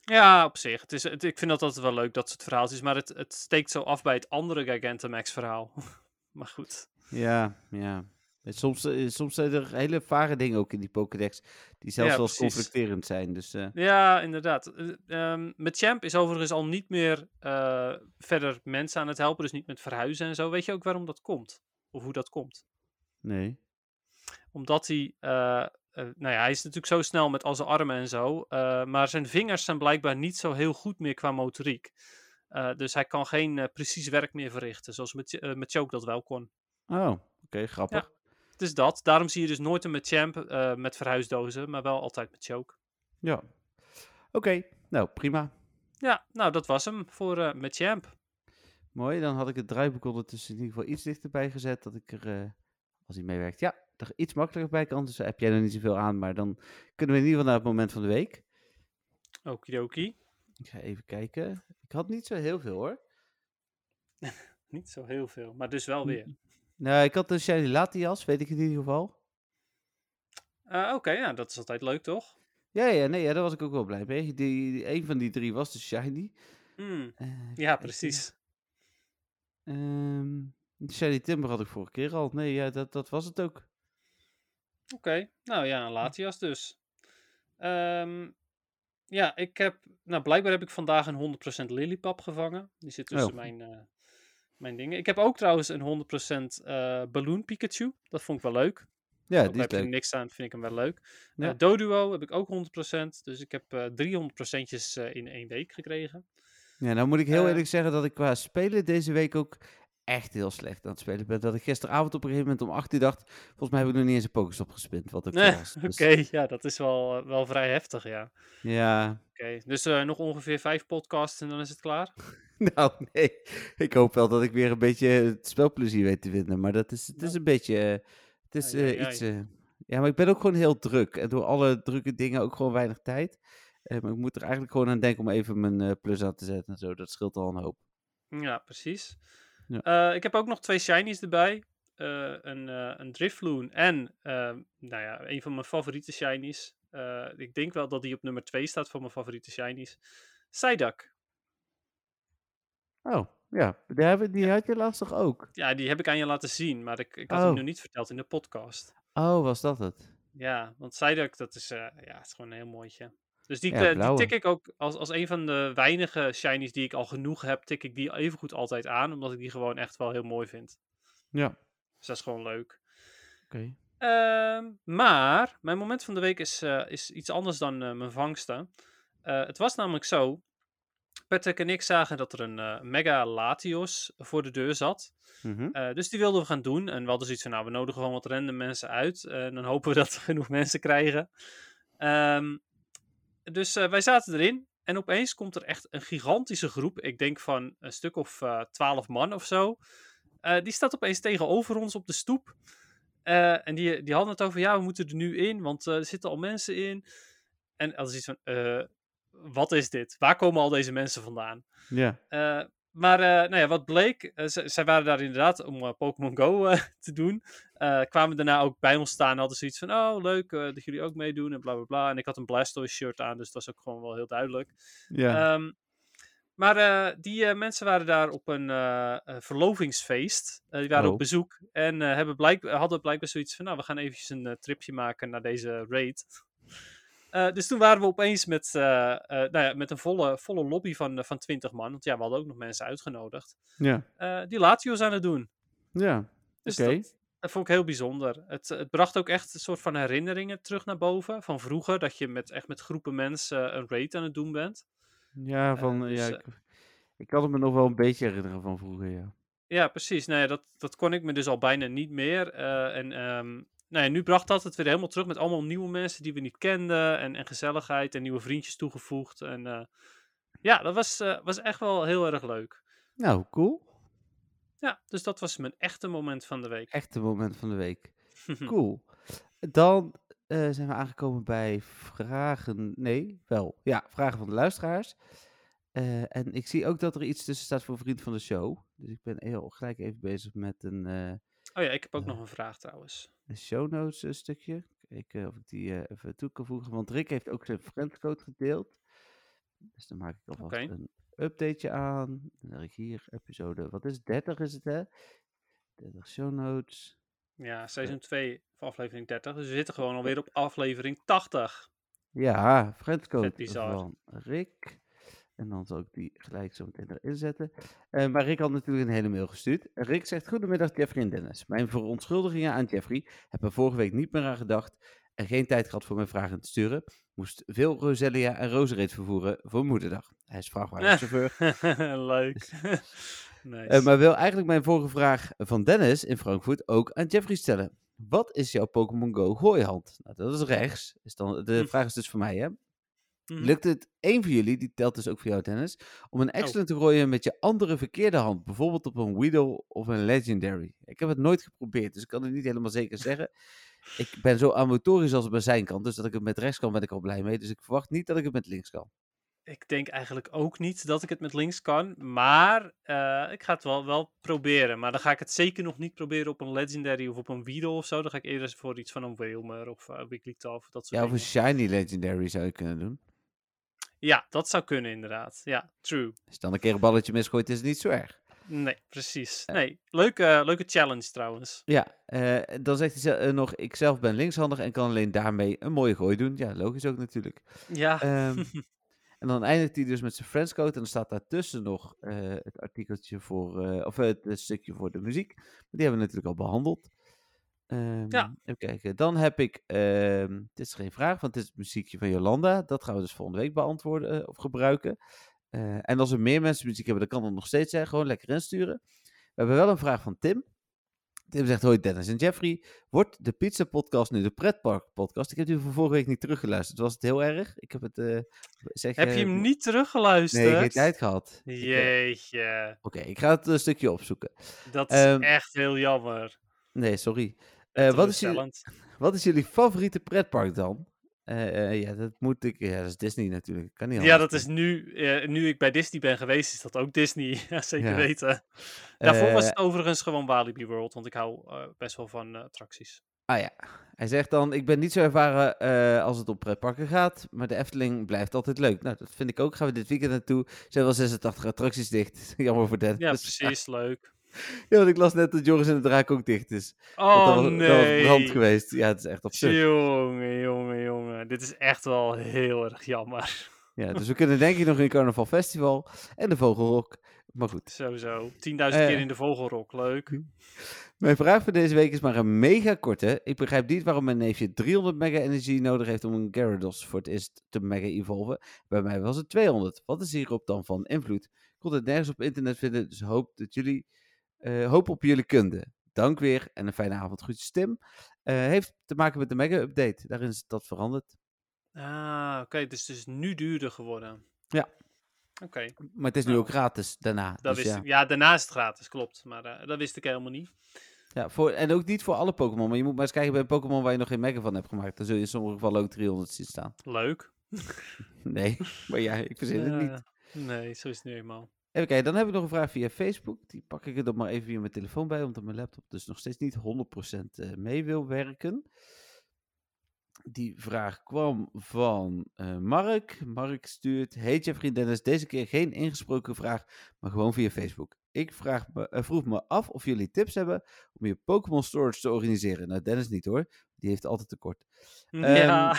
Ja, op zich. Het is, het, ik vind dat altijd wel leuk, dat soort verhaaltjes. Maar het, het steekt zo af bij het andere Gigantamax verhaal. maar goed.
Ja, ja. En Soms, eh, soms zijn er hele vage dingen ook in die Pokédex. Die zelfs
Ja,
wel eens
precies.
conflicterend zijn. Dus eh,
Ja, inderdaad. Eh, ehm, Met Champ is overigens al niet meer eh, verder mensen aan het helpen. Dus niet met verhuizen en zo. Weet je ook waarom dat komt? Of hoe dat komt?
nee.
Omdat hij. eh, eh, nou ja, hij is natuurlijk zo snel met al zijn armen en zo. eh, maar zijn vingers zijn blijkbaar niet zo heel goed meer qua motoriek. Eh, dus hij kan geen eh, precies werk meer verrichten. Zoals met, eh, met Choke dat wel kon.
Oh, oké, grappig. Ja.
Het is dat. Daarom zie je dus nooit een Machamp eh met verhuisdozen, maar wel altijd met choke.
Oké, nou prima.
Ja, nou dat was hem voor eh Machamp.
Mooi, dan had ik het draaiboek ondertussen in ieder geval iets dichterbij gezet. Dat ik er, eh, als hij meewerkt, ja, er iets makkelijker bij kan. Dus daar heb jij er niet zoveel aan. Maar dan kunnen we in ieder geval naar het moment van de week.
Okidoki.
Ik ga even kijken. Ik had niet zo heel veel hoor.
Niet zo heel veel, maar dus wel weer.
Nou, ik had een Shiny Latias, weet ik in ieder geval.
Eh, Oké, ja, dat is altijd leuk toch?
Ja, ja, nee, ja, daar was ik ook wel blij mee. Die, die- een van die drie was de Shiny.
Hmm,
Eh, even
ja,
kijken.
precies.
Ehm, Shiny Timber had ik vorige keer al. Nee, ja, dat, dat was het ook.
Oké, nou ja, een Latias dus. Ehm, ja, ik heb, nou blijkbaar heb ik vandaag een 100% lilipap gevangen. Die zit tussen
Oh.
mijn, eh, mijn dingen. Ik heb ook trouwens een 100% eh Balloon Pikachu. Dat vond ik wel leuk.
Ja,
Ook
die is
heb je
leuk.
niks aan, vind ik hem wel leuk. Eh,
Ja.
Doduo heb ik ook 100%. Dus ik heb eh 300%'tjes eh, in één week gekregen.
Ja, nou moet ik heel
Eh,
eerlijk zeggen dat ik qua spelen deze week ook echt heel slecht aan het spelen ben. Dat ik gisteravond op een gegeven moment om 8 uur dacht, volgens mij heb ik nog niet eens een Pokestop gespind. Wat ook
Nee,
zo was.
Oké,
Dus,
ja, dat is wel, eh, wel vrij heftig, ja. Oké,
Ja,
dus eh, nog ongeveer vijf podcasts en dan is het klaar.
nou nee. Ik hoop wel dat ik weer een beetje het spelplezier weet te vinden. Maar dat is, het is
Nou.
een beetje, eh, het is
Ai, ai,
eh,
ai.
iets... eh, ja, maar ik ben ook gewoon heel druk. En door alle drukke dingen ook gewoon weinig tijd. Eh, maar ik moet er eigenlijk gewoon aan denken om even mijn eh, plus aan te zetten en zo. Dat scheelt al een hoop.
Ja, precies.
Ja.
Eh, ik heb ook nog twee shinies erbij. Eh, een, eh een Drifloon en ehm, nou ja, een van mijn favoriete shinies. Eh, ik denk wel dat die op nummer 2 staat van mijn favoriete shinies. Psyduck.
Oh, ja. Die, hebben- die had je laatst toch ook?
Ja, die heb ik aan je laten zien, maar ik, ik had
Oh.
hem nog niet verteld in de podcast.
Oh, was dat het?
Ja, want Psyduck, dat is, eh, ja, het is gewoon een heel mooitje. Dus die,
Ja,
eh, die
blauwe.
tik ik ook als, als een van de weinige shinies die ik al genoeg heb, tik ik die evengoed altijd aan, omdat ik die gewoon echt wel heel mooi vind.
Ja. Oké.
Dus dat is gewoon leuk. Ehm, maar mijn moment van de week is, eh, is iets anders dan eh, mijn vangsten. Eh, het was namelijk zo. Patrick en ik zagen dat er een eh, mega Latios voor de deur zat.
Mhm.
Eh, dus die wilden we gaan doen. En we hadden zoiets van, nou, we nodigen gewoon wat random mensen uit. Eh, en dan hopen we dat we genoeg mensen krijgen. Ehm, dus eh, wij zaten erin. En opeens komt er echt een gigantische groep. Ik denk van een stuk of eh, twaalf man of zo. Eh, die staat opeens tegenover ons op de stoep. Eh, en die, die hadden het over, ja, we moeten er nu in, want eh, er zitten al mensen in. En dat is iets van, eh, wat is dit? Waar komen al deze mensen vandaan?
Ja.
Eh, maar eh, nou ja, wat bleek, eh, z- zij waren daar inderdaad om eh, Pokémon Go eh, te doen. Eh, kwamen daarna ook bij ons staan en hadden zoiets van, oh leuk eh, dat jullie ook meedoen en bla bla bla. En ik had een Blastoise shirt aan, dus dat was ook gewoon wel heel duidelijk.
Ja.
Ehm, maar eh, die eh, mensen waren daar op een eh, eh, verlovingsfeest. Eh, die waren
Oh.
op bezoek en eh, hebben blijk, hadden blijkbaar zoiets van, nou we gaan eventjes een eh, tripje maken naar deze raid. Eh, dus toen waren we opeens met, eh, eh, nou ja, met een volle, volle lobby van, eh, van 20 man. Want ja, we hadden ook nog mensen uitgenodigd.
ja.
eh, die Latios aan het doen.
Ja.
Dus
Oké.
dat, dat vond ik heel bijzonder. Het, het bracht ook echt een soort van herinneringen terug naar boven. Van vroeger, dat je met, echt met groepen mensen eh, een raid aan het doen bent.
Ja, van,
dus,
ja
eh,
ik, ik kan het me nog wel een beetje herinneren van vroeger, ja.
Ja, precies. Nou ja, dat, dat kon ik me dus al bijna niet meer. Eh, en ehm, nou ja, nu bracht dat het weer helemaal terug met allemaal nieuwe mensen die we niet kenden. En, en gezelligheid en nieuwe vriendjes toegevoegd. En eh, ja, dat was, eh, was echt wel heel erg leuk.
Nou, cool.
Ja, dus dat was mijn echte moment van de week.
Echte moment van de week. Cool. Dan eh, zijn we aangekomen bij vragen. Nee, wel. Ja, vragen van de luisteraars. Eh, en ik zie ook dat er iets tussen staat voor vriend van de show. Dus ik ben heel gelijk even bezig met een, eh,
Oh ja, ik heb ook nog een vraag trouwens.
een show notes eh, stukje. Kijken of ik die eh, even toe kan voegen. Want Rick heeft ook zijn friendcode gedeeld. Dus dan maak ik alvast
Oké.
een updateje aan. Dan heb ik hier episode. Wat is het? 30 is het hè? 30 show notes.
Ja, seizoen 2 van aflevering 30. Dus we zitten gewoon alweer op aflevering 80.
Ja,
Vet
friendcode
bizar.
van Rick. En dan zal ik die gelijk zo meteen erin zetten. Eh, maar Rick had natuurlijk een hele mail gestuurd. Rick zegt, goedemiddag Jeffrey en Dennis. Mijn verontschuldigingen aan Jeffrey heb er vorige week niet meer aan gedacht. En geen tijd gehad voor mijn vragen te sturen. Moest veel Roselia en Rosereed vervoeren voor moederdag. Hij is vrachtwagenchauffeur.
Leuk. nice.
Eh, maar wil eigenlijk mijn vorige vraag van Dennis in Frankfurt ook aan Jeffrey stellen. Wat is jouw Pokémon Go gooihand? Nou, dat is rechts. Is dan, de
Hm.
vraag is dus voor mij, hè?
Mhm.
Lukt het één van jullie, die telt dus ook voor jou Dennis, om een excellent te gooien met je andere verkeerde hand? Bijvoorbeeld op een Weedle of een Legendary. Ik heb het nooit geprobeerd, dus ik kan het niet helemaal zeker zeggen. Ik ben zo amotorisch als het bij zijn kant, dus dat ik het met rechts kan ben ik al blij mee. Dus ik verwacht niet dat ik het met links kan.
Ik denk eigenlijk ook niet dat ik het met links kan. Maar eh, ik ga het wel, wel proberen. Maar dan ga ik het zeker nog niet proberen op een Legendary of op een Weedle of zo. Dan ga ik eerder voor iets van een Wilmer of uh, Wigglytuff of dat soort
Ja, of een
dingen.
Shiny Legendary zou je kunnen doen.
Ja, dat zou kunnen inderdaad. Ja, true.
Als je dan een keer een balletje misgooit, is het niet zo erg.
Nee, precies. Nee, leuke, leuke challenge trouwens.
Ja, eh, dan zegt hij ze- eh, nog, ik zelf ben linkshandig en kan alleen daarmee een mooie gooi doen. Ja, logisch ook natuurlijk.
Ja,
Ehm, en dan eindigt hij dus met zijn friendscode. En dan staat daartussen nog eh, het artikeltje voor, eh, of het, het stukje voor de muziek. Maar die hebben we natuurlijk al behandeld. Ehm,
Ja.
Even kijken. Dan heb ik, ehm dit is geen vraag, want het is het muziekje van Jolanda. Dat gaan we dus volgende week beantwoorden eh, of gebruiken. Eh, en als er meer mensen muziek hebben, dan kan dat nog steeds zijn. Gewoon lekker insturen. We hebben wel een vraag van Tim. Tim zegt, hoi Dennis en Jeffrey. Wordt de pizza podcast nu de pretpark podcast? Ik heb die van vorige week niet teruggeluisterd. Was het heel erg? Ik heb het... eh, zeg,
Heb je
eh,
hem niet
Nee,
teruggeluisterd?
geen tijd gehad. Ik, eh,
Jeetje,
Oké, ik ga het een stukje opzoeken.
dat is
Ehm,
echt heel jammer.
Nee, sorry. Eh, wat, is jullie,
Teleurstellend.
wat is jullie favoriete pretpark dan? Eh, eh, ja, dat moet ik... Ja, dat is Disney natuurlijk. Kan niet
Ja,
anders.
dat is nu, eh, nu ik bij Disney ben geweest, is dat ook Disney. Ja, zeker
Ja.
weten. Daarvoor was
Eh,
het overigens gewoon Walibi World, want ik hou eh, best wel van eh, attracties.
Ah ja, hij zegt dan, ik ben niet zo ervaren eh, als het om pretparken gaat, maar de Efteling blijft altijd leuk. Nou, dat vind ik ook. Gaan we dit weekend naartoe. Zijn wel 86 attracties dicht. Jammer voor Dennis.
Ja, precies, leuk.
Ja, want ik las net dat Joris en de Draak ook dicht is. Want
Oh
dat was, dat was brand
nee,
geweest. Ja, het is echt absurd.
jongen, jongen, jongen. Dit is echt wel heel erg jammer.
Ja, dus we kunnen denk ik nog in Carnaval Festival en de Vogelrok. Maar goed.
Sowieso. 10.000
Eh. Hm.
keer in de vogelrok, leuk.
Mijn vraag voor deze week is maar een mega korte. Ik begrijp niet waarom mijn neefje 300 mega energie nodig heeft om een Gyarados voor het eerst te mega evolven. Bij mij was het 200. Wat is hierop dan van invloed? Ik kon het nergens op internet vinden, dus hoop, dat jullie, eh, hoop op jullie kunde. Dank weer en een fijne avond. Groetjes Tim. Eh, heeft te maken met de mega update. Daarin is dat veranderd.
Ah, oké, dus het is nu duurder geworden.
Ja.
Oké,
Maar het is nu
Nou,
ook gratis daarna.
dat
Dus
wist
ja.
ik. Ja, daarna is het gratis, klopt. Maar eh, dat wist ik helemaal niet.
Ja, voor, en ook niet voor alle Pokémon. Maar je moet maar eens kijken bij een Pokémon waar je nog geen mega van hebt gemaakt. Dan zul je in sommige gevallen ook 300 zien staan.
Leuk.
Nee, maar ja, ik verzin het niet.
Eh, nee, zo is het nu eenmaal.
Even kijken, dan heb ik nog een vraag via Facebook. Die pak ik er dan maar even via mijn telefoon bij, omdat mijn laptop dus nog steeds niet 100% eh, mee wil werken. Die vraag kwam van eh, Mark. Mark stuurt: Hey Jeffrey en Dennis, deze keer geen ingesproken vraag, maar gewoon via Facebook. Ik vraag me, eh, vroeg me af of jullie tips hebben om je Pokémon Storage te organiseren. Nou, Dennis niet hoor, die heeft altijd tekort.
ja.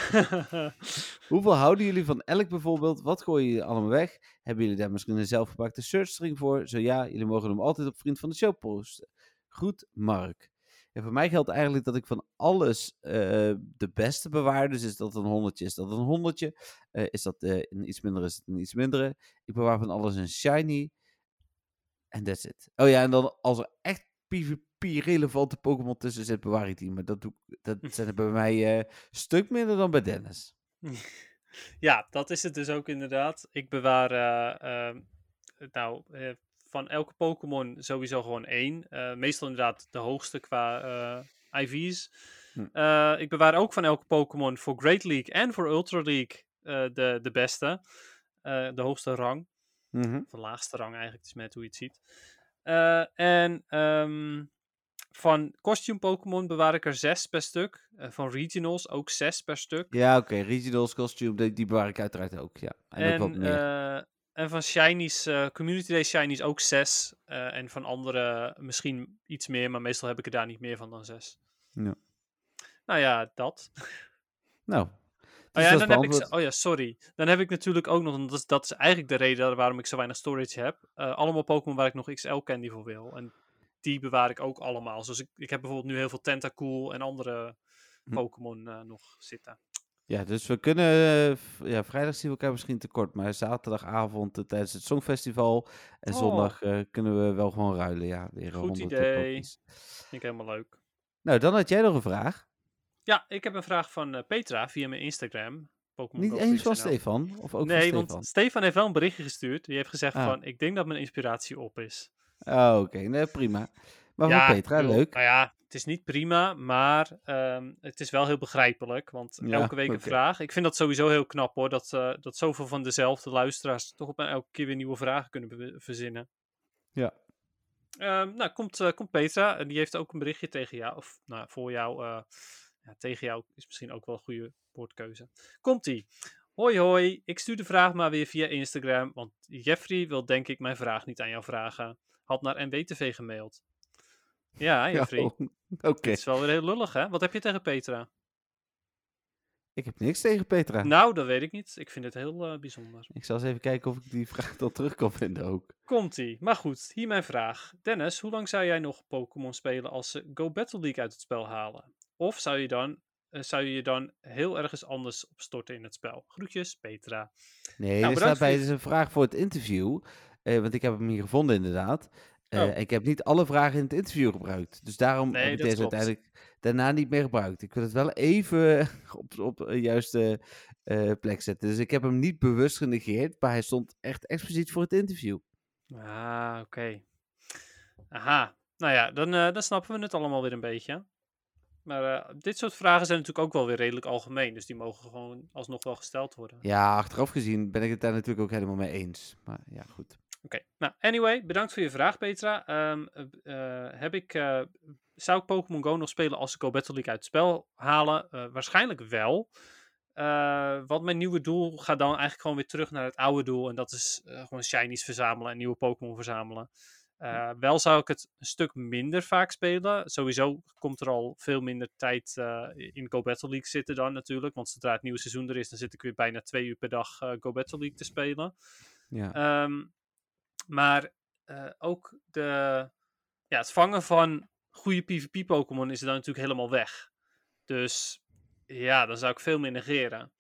Hoeveel houden jullie van elk bijvoorbeeld? Wat gooien jullie allemaal weg? Hebben jullie daar misschien een zelfgepakte searchstring voor? Zo ja, jullie mogen hem altijd op Vriend van de Show posten. Goed, Mark. En voor mij geldt eigenlijk dat ik van alles eh, de beste bewaar. Dus is dat een honderdje, is dat een honderdje. Eh, is dat eh, een iets minder, is het een iets mindere. Ik bewaar van alles een shiny. En that's it. Oh ja, en dan als er echt PvP-relevante Pokémon tussen zit, bewaar ik die. Maar dat, doe, ik- dat zijn er bij mij eh, een stuk minder dan bij Dennis.
ja, dat is het dus ook inderdaad. Ik bewaar eh, ehm, nou, eh, van elke Pokémon sowieso gewoon één. Eh, meestal inderdaad de hoogste qua eh, IV's.
Hm.
Eh, ik bewaar ook van elke Pokémon voor Great League en voor Ultra League eh, de, de beste. Eh, de hoogste rang. Of de laagste rang eigenlijk, het is net hoe je het ziet. Eh, en ehm, van costume Pokémon bewaar ik er zes per stuk. Eh, van regionals ook zes per stuk.
Ja, oké. Regionals costume, die, die bewaar ik uiteraard ook. Ja. En, ook wat
En,
meer.
eh, en van Shinies, eh, Community Day Shinies ook zes. Eh, en van andere misschien iets meer, maar meestal heb ik er daar niet meer van dan zes.
Ja.
Nou ja, dat.
nou.
Oh
dus
ja,
dat
dan
is
heb ik,
beantwoord.
ze- oh ja, sorry. Dan heb ik natuurlijk ook nog, want dat is, dat is eigenlijk de reden waarom ik zo weinig storage heb. eh, allemaal Pokémon waar ik nog XL Candy voor wil. En die bewaar ik ook allemaal. Dus ik, ik heb bijvoorbeeld nu heel veel Tentacool en andere
Hm.
Pokémon eh, nog zitten.
Ja, dus we kunnen... eh, v- ja, vrijdag zien we elkaar misschien tekort. Maar zaterdagavond eh, tijdens het Songfestival en
Oh.
zondag eh, kunnen we wel gewoon ruilen. Ja, weer
Goed
100
idee.
Pokies.
Vind ik helemaal leuk.
Nou, dan had jij nog een vraag.
Ja, ik heb een vraag van eh, Petra via mijn Instagram. Pokémon
Niet
Go
eens van
Freaks NL.
Stefan? Of ook
nou? nee,
van Stefan?
want Stefan heeft wel een berichtje gestuurd. Die heeft gezegd
Ah.
van, ik denk dat mijn inspiratie op is.
Oh, oké. Nee, prima. Maar
ja,
van Petra,
ik bedoel,
leuk.
Nou ja, het is niet prima, maar ehm, het is wel heel begrijpelijk. Want
Ja,
elke week een
oké.
vraag. Ik vind dat sowieso heel knap hoor, dat, eh, dat zoveel van dezelfde luisteraars toch op elke keer weer nieuwe vragen kunnen be- verzinnen.
Ja.
Ehm, nou, komt, eh, komt Petra en die heeft ook een berichtje tegen jou, of nou, voor jou. eh, ja, tegen jou is misschien ook wel een goede woordkeuze. Komt-ie. Hoi hoi, ik stuur de vraag maar weer via Instagram, want Jeffrey wil denk ik mijn vraag niet aan jou vragen. Had naar NWTV gemaild. Ja, Jeffrey.
Ja, oké.
Dit is wel weer heel lullig, hè? Wat heb je tegen Petra?
Ik heb niks tegen Petra.
Nou, dat weet ik niet. Ik vind het heel eh, bijzonder.
Ik zal eens even kijken of ik die vraag dan terug kan vinden ook.
Komt-ie. Maar goed, hier mijn vraag. Dennis, hoe lang zou jij nog Pokémon spelen als ze Go Battle League uit het spel halen? Of zou je dan, eh, zou je je dan heel ergens anders op storten in het spel? Groetjes, Petra.
Nee,
Nou,
er
bedankt
staat
voor
bij
je-
dus een vraag voor het interview. eh, want ik heb hem hier gevonden, inderdaad. Eh,
Oh.
Ik heb niet alle vragen in het interview gebruikt. Dus daarom
Nee,
heb ik
dat
deze
klopt.
uiteindelijk daarna niet meer gebruikt. Ik wil het wel even op, op een juiste eh, plek zetten. Dus ik heb hem niet bewust genegeerd, maar hij stond echt expliciet voor het interview.
Ah, oké. Aha. Nou ja, dan, eh, dan snappen we het allemaal weer een beetje. Maar eh, dit soort vragen zijn natuurlijk ook wel weer redelijk algemeen. Dus die mogen gewoon alsnog wel gesteld worden.
Ja, achteraf gezien ben ik het daar natuurlijk ook helemaal mee eens. Maar ja, goed.
Oké, nou, anyway, bedankt voor je vraag, Petra. Ehm, eh, b- eh, heb ik, eh, zou ik Pokémon Go nog spelen als ik Go Battle League uit het spel halen? Eh, waarschijnlijk wel. Eh, want mijn nieuwe doel gaat dan eigenlijk gewoon weer terug naar het oude doel. En dat is eh, gewoon shinies verzamelen en nieuwe Pokémon verzamelen. Eh, wel zou ik het een stuk minder vaak spelen. Sowieso komt er al veel minder tijd eh, in Go Battle League zitten dan natuurlijk. Want zodra het nieuwe seizoen er is, dan zit ik weer bijna twee uur per dag eh, Go Battle League te spelen.
Ja.
Ehm, maar eh, ook de, ja, het vangen van goede PvP-Pokémon is dan natuurlijk helemaal weg. Dus ja, dan zou ik veel meer negeren.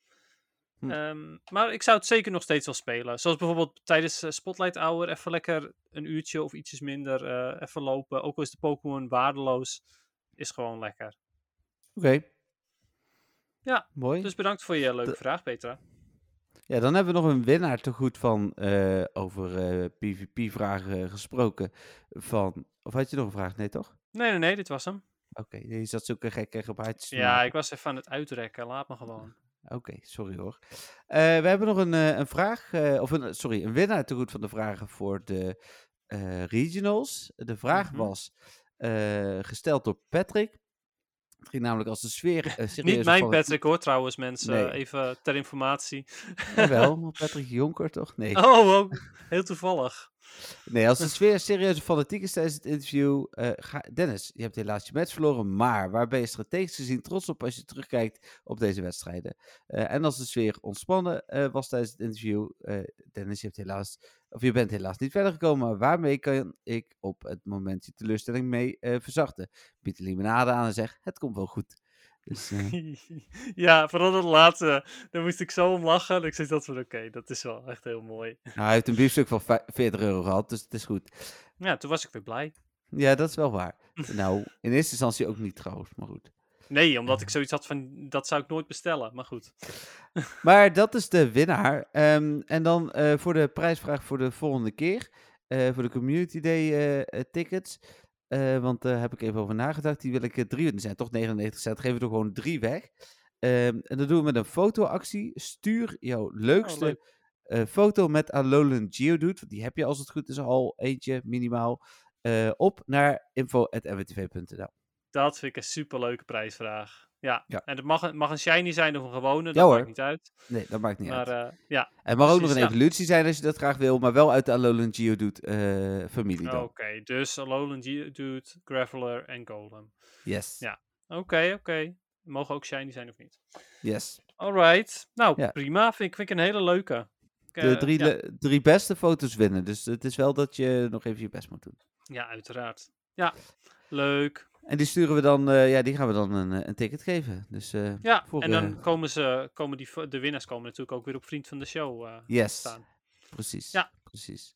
Hm.
Ehm, maar ik zou het zeker nog steeds wel spelen. Zoals bijvoorbeeld tijdens eh, Spotlight Hour even lekker een uurtje of ietsjes minder eh, even lopen. Ook al is de Pokémon waardeloos, is gewoon lekker.
Oké.
Ja,
Mooi.
Dus bedankt voor je leuke
Dat-
vraag, Petra.
Ja, dan hebben we nog een winnaar te goed van eh, over eh, PvP-vragen eh, gesproken. Van, of had je nog een vraag? Nee, toch?
Nee, nee, nee, dit was hem.
Oké, je zat zulke gekke gebaartjes. te
Ja,
maken.
ik was even aan het uitrekken. Laat me gewoon.
Oké, sorry hoor. Eh, we hebben nog een, eh, een vraag, eh, of een, sorry, een winnaar te goed van de vragen voor de eh, regionals. De vraag
Mhm.
was eh, gesteld door Patrick. Het ging namelijk als de sfeer... eh, serieus
Niet mijn
opvallend-
Patrick hoor, trouwens, mensen.
Nee.
Even ter informatie.
Jawel, Patrick Jonker toch? Nee.
Oh, oh, heel toevallig.
Nee, als de sfeer serieuze fanatiek is tijdens het interview. eh, ga... Dennis, je hebt helaas je match verloren. Maar waar ben je strategisch gezien trots op als je terugkijkt op deze wedstrijden? Eh, en als de sfeer ontspannen eh, was tijdens het interview. eh, Dennis, je, hebt helaas... of je bent helaas niet verder gekomen. Maar waarmee kan ik op het moment je teleurstelling mee eh, verzachten? Bied de limonade aan en zeg: Het komt wel goed. Dus, eh,
ja, vooral dat laatste. Daar moest ik zo om lachen. En ik zei dat van, oké, dat is wel echt heel mooi.
nou, hij heeft een biefstuk van vij- 40 euro gehad, dus het is goed.
Ja, toen was ik weer blij.
Ja, dat is wel waar. Nou, in eerste instantie ook niet trouwens, maar goed.
Nee, omdat ik zoiets had van, dat zou ik nooit bestellen. Maar goed.
Maar dat is de winnaar. Ehm, en dan eh, voor de prijsvraag voor de volgende keer. eh, voor de Community Day eh, eh, tickets. Eh, want daar heb ik even over nagedacht. Die wil ik eh, drie. Die zijn toch 99 cent. Geven we er gewoon drie weg. Ehm, en dat doen we met een fotoactie. Stuur jouw leukste
Oh, leuk.
eh, foto met Alolan Geodude. Want die heb je als het goed is al eentje minimaal. eh, op naar info.mwtv.nl.
Dat vind ik een superleuke prijsvraag. Ja,
Ja.
en het mag, een- mag een shiny zijn of een gewone,
Ja,
dat
hoor.
maakt niet uit.
Nee, dat maakt niet uit.
maar eh, ja,
Het mag ook nog
Precies, nou.
een
ja.
evolutie zijn als je dat graag wil, maar wel uit de Alolan Geodude eh familie
oké.
dan.
Dus Alolan Geodude, Graveler en Golem.
Yes,
Ja. Oké, oké. Mogen ook shiny zijn of niet?
yes.
Alright. Nou,
Ja.
prima. Vind ik, vind ik een hele leuke. Ik,
De
eh,
drie,
ja,
le- drie beste foto's winnen, dus het is wel dat je nog even je best moet doen.
ja, uiteraard. Ja, leuk.
En die sturen we dan, eh, ja, die gaan we dan een, eh, een ticket geven. Dus eh,
Ja,
Voor,
en dan
eh,
komen, ze, komen die, v- de winnaars komen natuurlijk ook weer op Vriend van de Show eh,
yes,
staan.
precies.
Ja.
precies.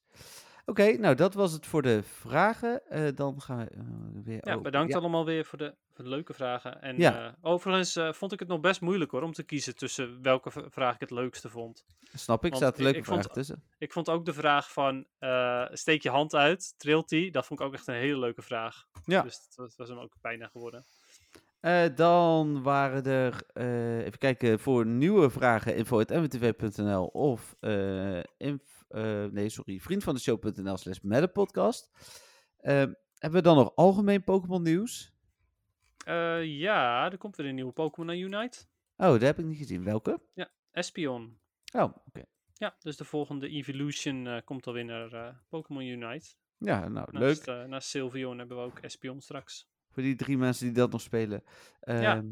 Oké, nou dat was het voor de vragen. Eh, dan gaan we eh, weer...
Ja,
oh,
bedankt
ja.
allemaal weer voor de, voor de leuke vragen. En
Ja.
eh, overigens eh, vond ik het nog best moeilijk hoor, om te kiezen tussen welke v- vraag ik het leukste vond.
Snap ik,
want
staat een
ik-
leuke
ik vond-
vraag tussen.
Ik vond ook de vraag van eh, steek je hand uit, trilt die? Dat vond ik ook echt een hele leuke vraag.
Ja.
Dus dat was, was hem ook bijna geworden.
Eh, dan waren er, eh, even kijken, voor nieuwe vragen info.mwtv.nl of eh, inf- eh, nee, sorry, vriendvandeshow.nl slash maddenpodcast. Ehm, hebben we dan nog algemeen Pokémon nieuws?
Eh, ja, er komt weer een nieuwe Pokémon naar Unite.
Oh, dat heb ik niet gezien. Welke?
Espion.
Oh, oké.
Ja, dus de volgende Evolution eh, komt alweer naar eh, Pokémon Unite.
Ja, nou, leuk.
Naast, eh, naast Sylveon hebben we ook Espion straks.
Voor die drie mensen die dat nog spelen.
Ja.
Ehm,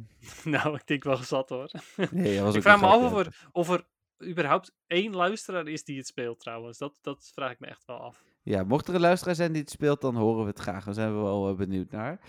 nou, ik denk wel gezat hoor.
nee, dat was
Ik
ook eh.
vraag me
wel
af
grappig.
of er, of er überhaupt één luisteraar is die het speelt trouwens. Dat, dat vraag ik me echt wel af.
Ja, mocht er een luisteraar zijn die het speelt, dan horen we het graag. Daar zijn we wel eh, benieuwd naar.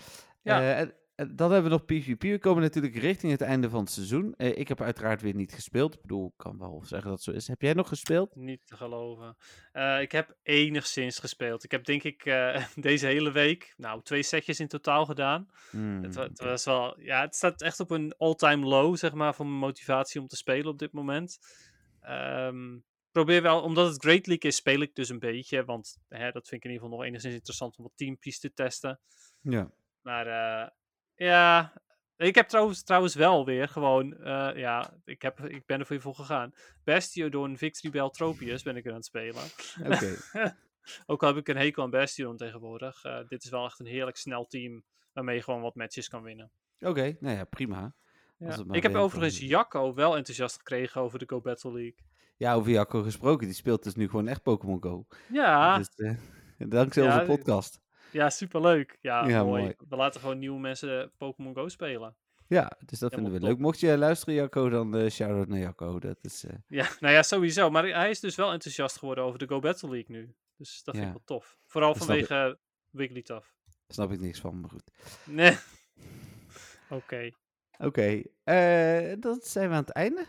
Ja.
Eh, en, En dan hebben we nog PvP. We komen natuurlijk richting het einde van het seizoen. Eh, ik heb uiteraard weer niet gespeeld. Ik bedoel, ik kan wel zeggen dat het zo is. Heb jij nog gespeeld?
Niet te geloven. Eh, ik heb enigszins gespeeld. Ik heb denk ik eh, deze hele week, nou, twee setjes in totaal gedaan.
Hmm,
Het, wa- het
oké.
was wel, ja, het staat echt op een all-time low, zeg maar, van mijn motivatie om te spelen op dit moment. Ehm, probeer wel, omdat het Great League is, speel ik dus een beetje. Want hè, dat vind ik in ieder geval nog enigszins interessant om wat teampies te testen.
Ja.
Maar eh, ja, ik heb trouwens, trouwens wel weer gewoon, eh, ja, ik, heb, ik ben er voor je voor gegaan. Bastiodon Victory Beltropius ben ik er aan het spelen.
Oké.
Ook al heb ik een hekel aan Bastion tegenwoordig. eh, dit is wel echt een heerlijk snel team waarmee je gewoon wat matches kan winnen.
Oké, nou ja, prima. Als
Ja.
het maar
Ik heb
werkt,
overigens
dan-
Jacco wel enthousiast gekregen over de Go Battle League.
Ja, over Jacco gesproken. Die speelt dus nu gewoon echt Pokémon Go.
Ja,
Dus, eh, dankzij
Ah. Ja,
onze podcast.
ja superleuk. Ja,
Ja,
mooi.
mooi.
We laten gewoon nieuwe mensen Pokémon Go spelen.
Ja, dus dat vinden we
helemaal
leuk. Mocht je luisteren, Jacco, dan eh shout-out naar Jacco. Dat is, eh,
Ja, nou ja, sowieso. Maar hij is dus wel enthousiast geworden over de Go Battle League nu. Dus dat
Ja.
vind ik wel tof. Vooral
Dat snap ik.
vanwege Wigglytuff.
snap ik niks van, maar goed.
Nee. Oké.
Oké, eh, dan zijn we aan het einde.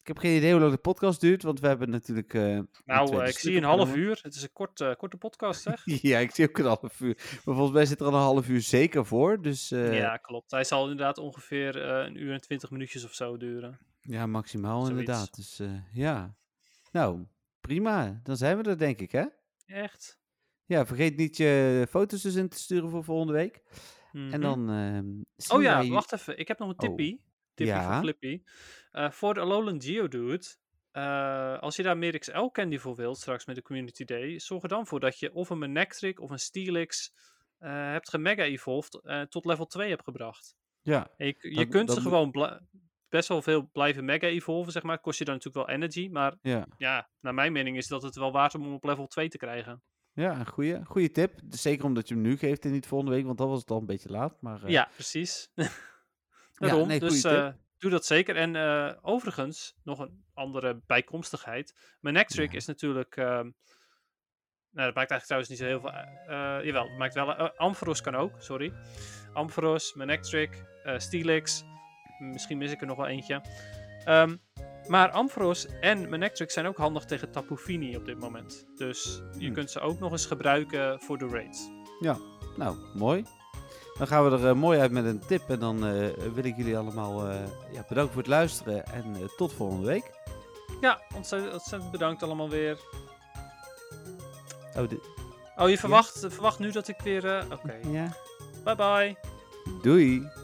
Ik heb geen idee hoe lang de podcast duurt, want we hebben natuurlijk... eh, een
Nou,
tweede
eh, ik
stuk
zie een half
opgenomen.
uur. Het is een kort, eh, korte podcast, zeg.
Ja, ik zie ook een half uur. Maar volgens mij zit er al een half uur zeker voor, dus... eh, ja.
ja, klopt. Hij zal inderdaad ongeveer eh, een uur en twintig minuutjes of zo duren.
maximaal
Zoiets.
inderdaad. Dus eh, ja, nou, prima. Dan zijn we er, denk ik, hè?
Echt?
Ja, vergeet niet je foto's dus in te sturen voor volgende week.
Mhm.
En dan ehm zien
Oh ja,
wij-
wacht even. Ik heb nog een
Oh.
tippie. Tippie
Ja.
voor Flippy. Eh, voor de Alolan Geodude. eh als je daar meer XL candy voor wilt straks met de Community Day. Zorg er dan voor dat je of een Manectric of een Steelix eh, hebt gemega evolved eh, tot level 2 hebt gebracht.
Ja,
En je, je
Dat-
kunt
dat
ze
moet-
gewoon bla- best wel veel blijven mega evolven, zeg maar. Kost je dan natuurlijk wel energy. Maar
Ja.
ja, naar mijn mening is dat het wel waard om hem op level 2 te krijgen.
Ja, een goede, goede tip. Dus Zeker omdat je hem nu geeft en niet volgende week, want dan was het al een beetje laat. Maar, eh,
Ja, precies. Daarom,
nee,
dus
goeie tip.
eh, doe dat zeker. En eh, overigens, nog een andere bijkomstigheid. Mijn necktrick
Ja.
is natuurlijk... ehm, nou, dat maakt eigenlijk trouwens niet zo heel veel... eh eh, jawel, dat maakt wel... eh, Ampharos kan ook, sorry. Ampharos, mijn necktrick, eh Steelix. Misschien mis ik er nog wel eentje. Ehm, maar Ampharos en mijn necktrick zijn ook handig tegen Tapu Fini op dit moment. Dus je
Hmm.
kunt ze ook nog eens gebruiken voor de raids.
Nou, mooi. Dan gaan we er eh, mooi uit met een tip. En dan eh, wil ik jullie allemaal eh, ja, bedanken voor het luisteren. En eh, tot volgende week.
Ja, ontzettend, ontzettend bedankt allemaal weer.
Oh, de-
Oh, je verwacht, verwacht nu dat ik weer. eh, Oké.
ja.
Bye bye.
Doei.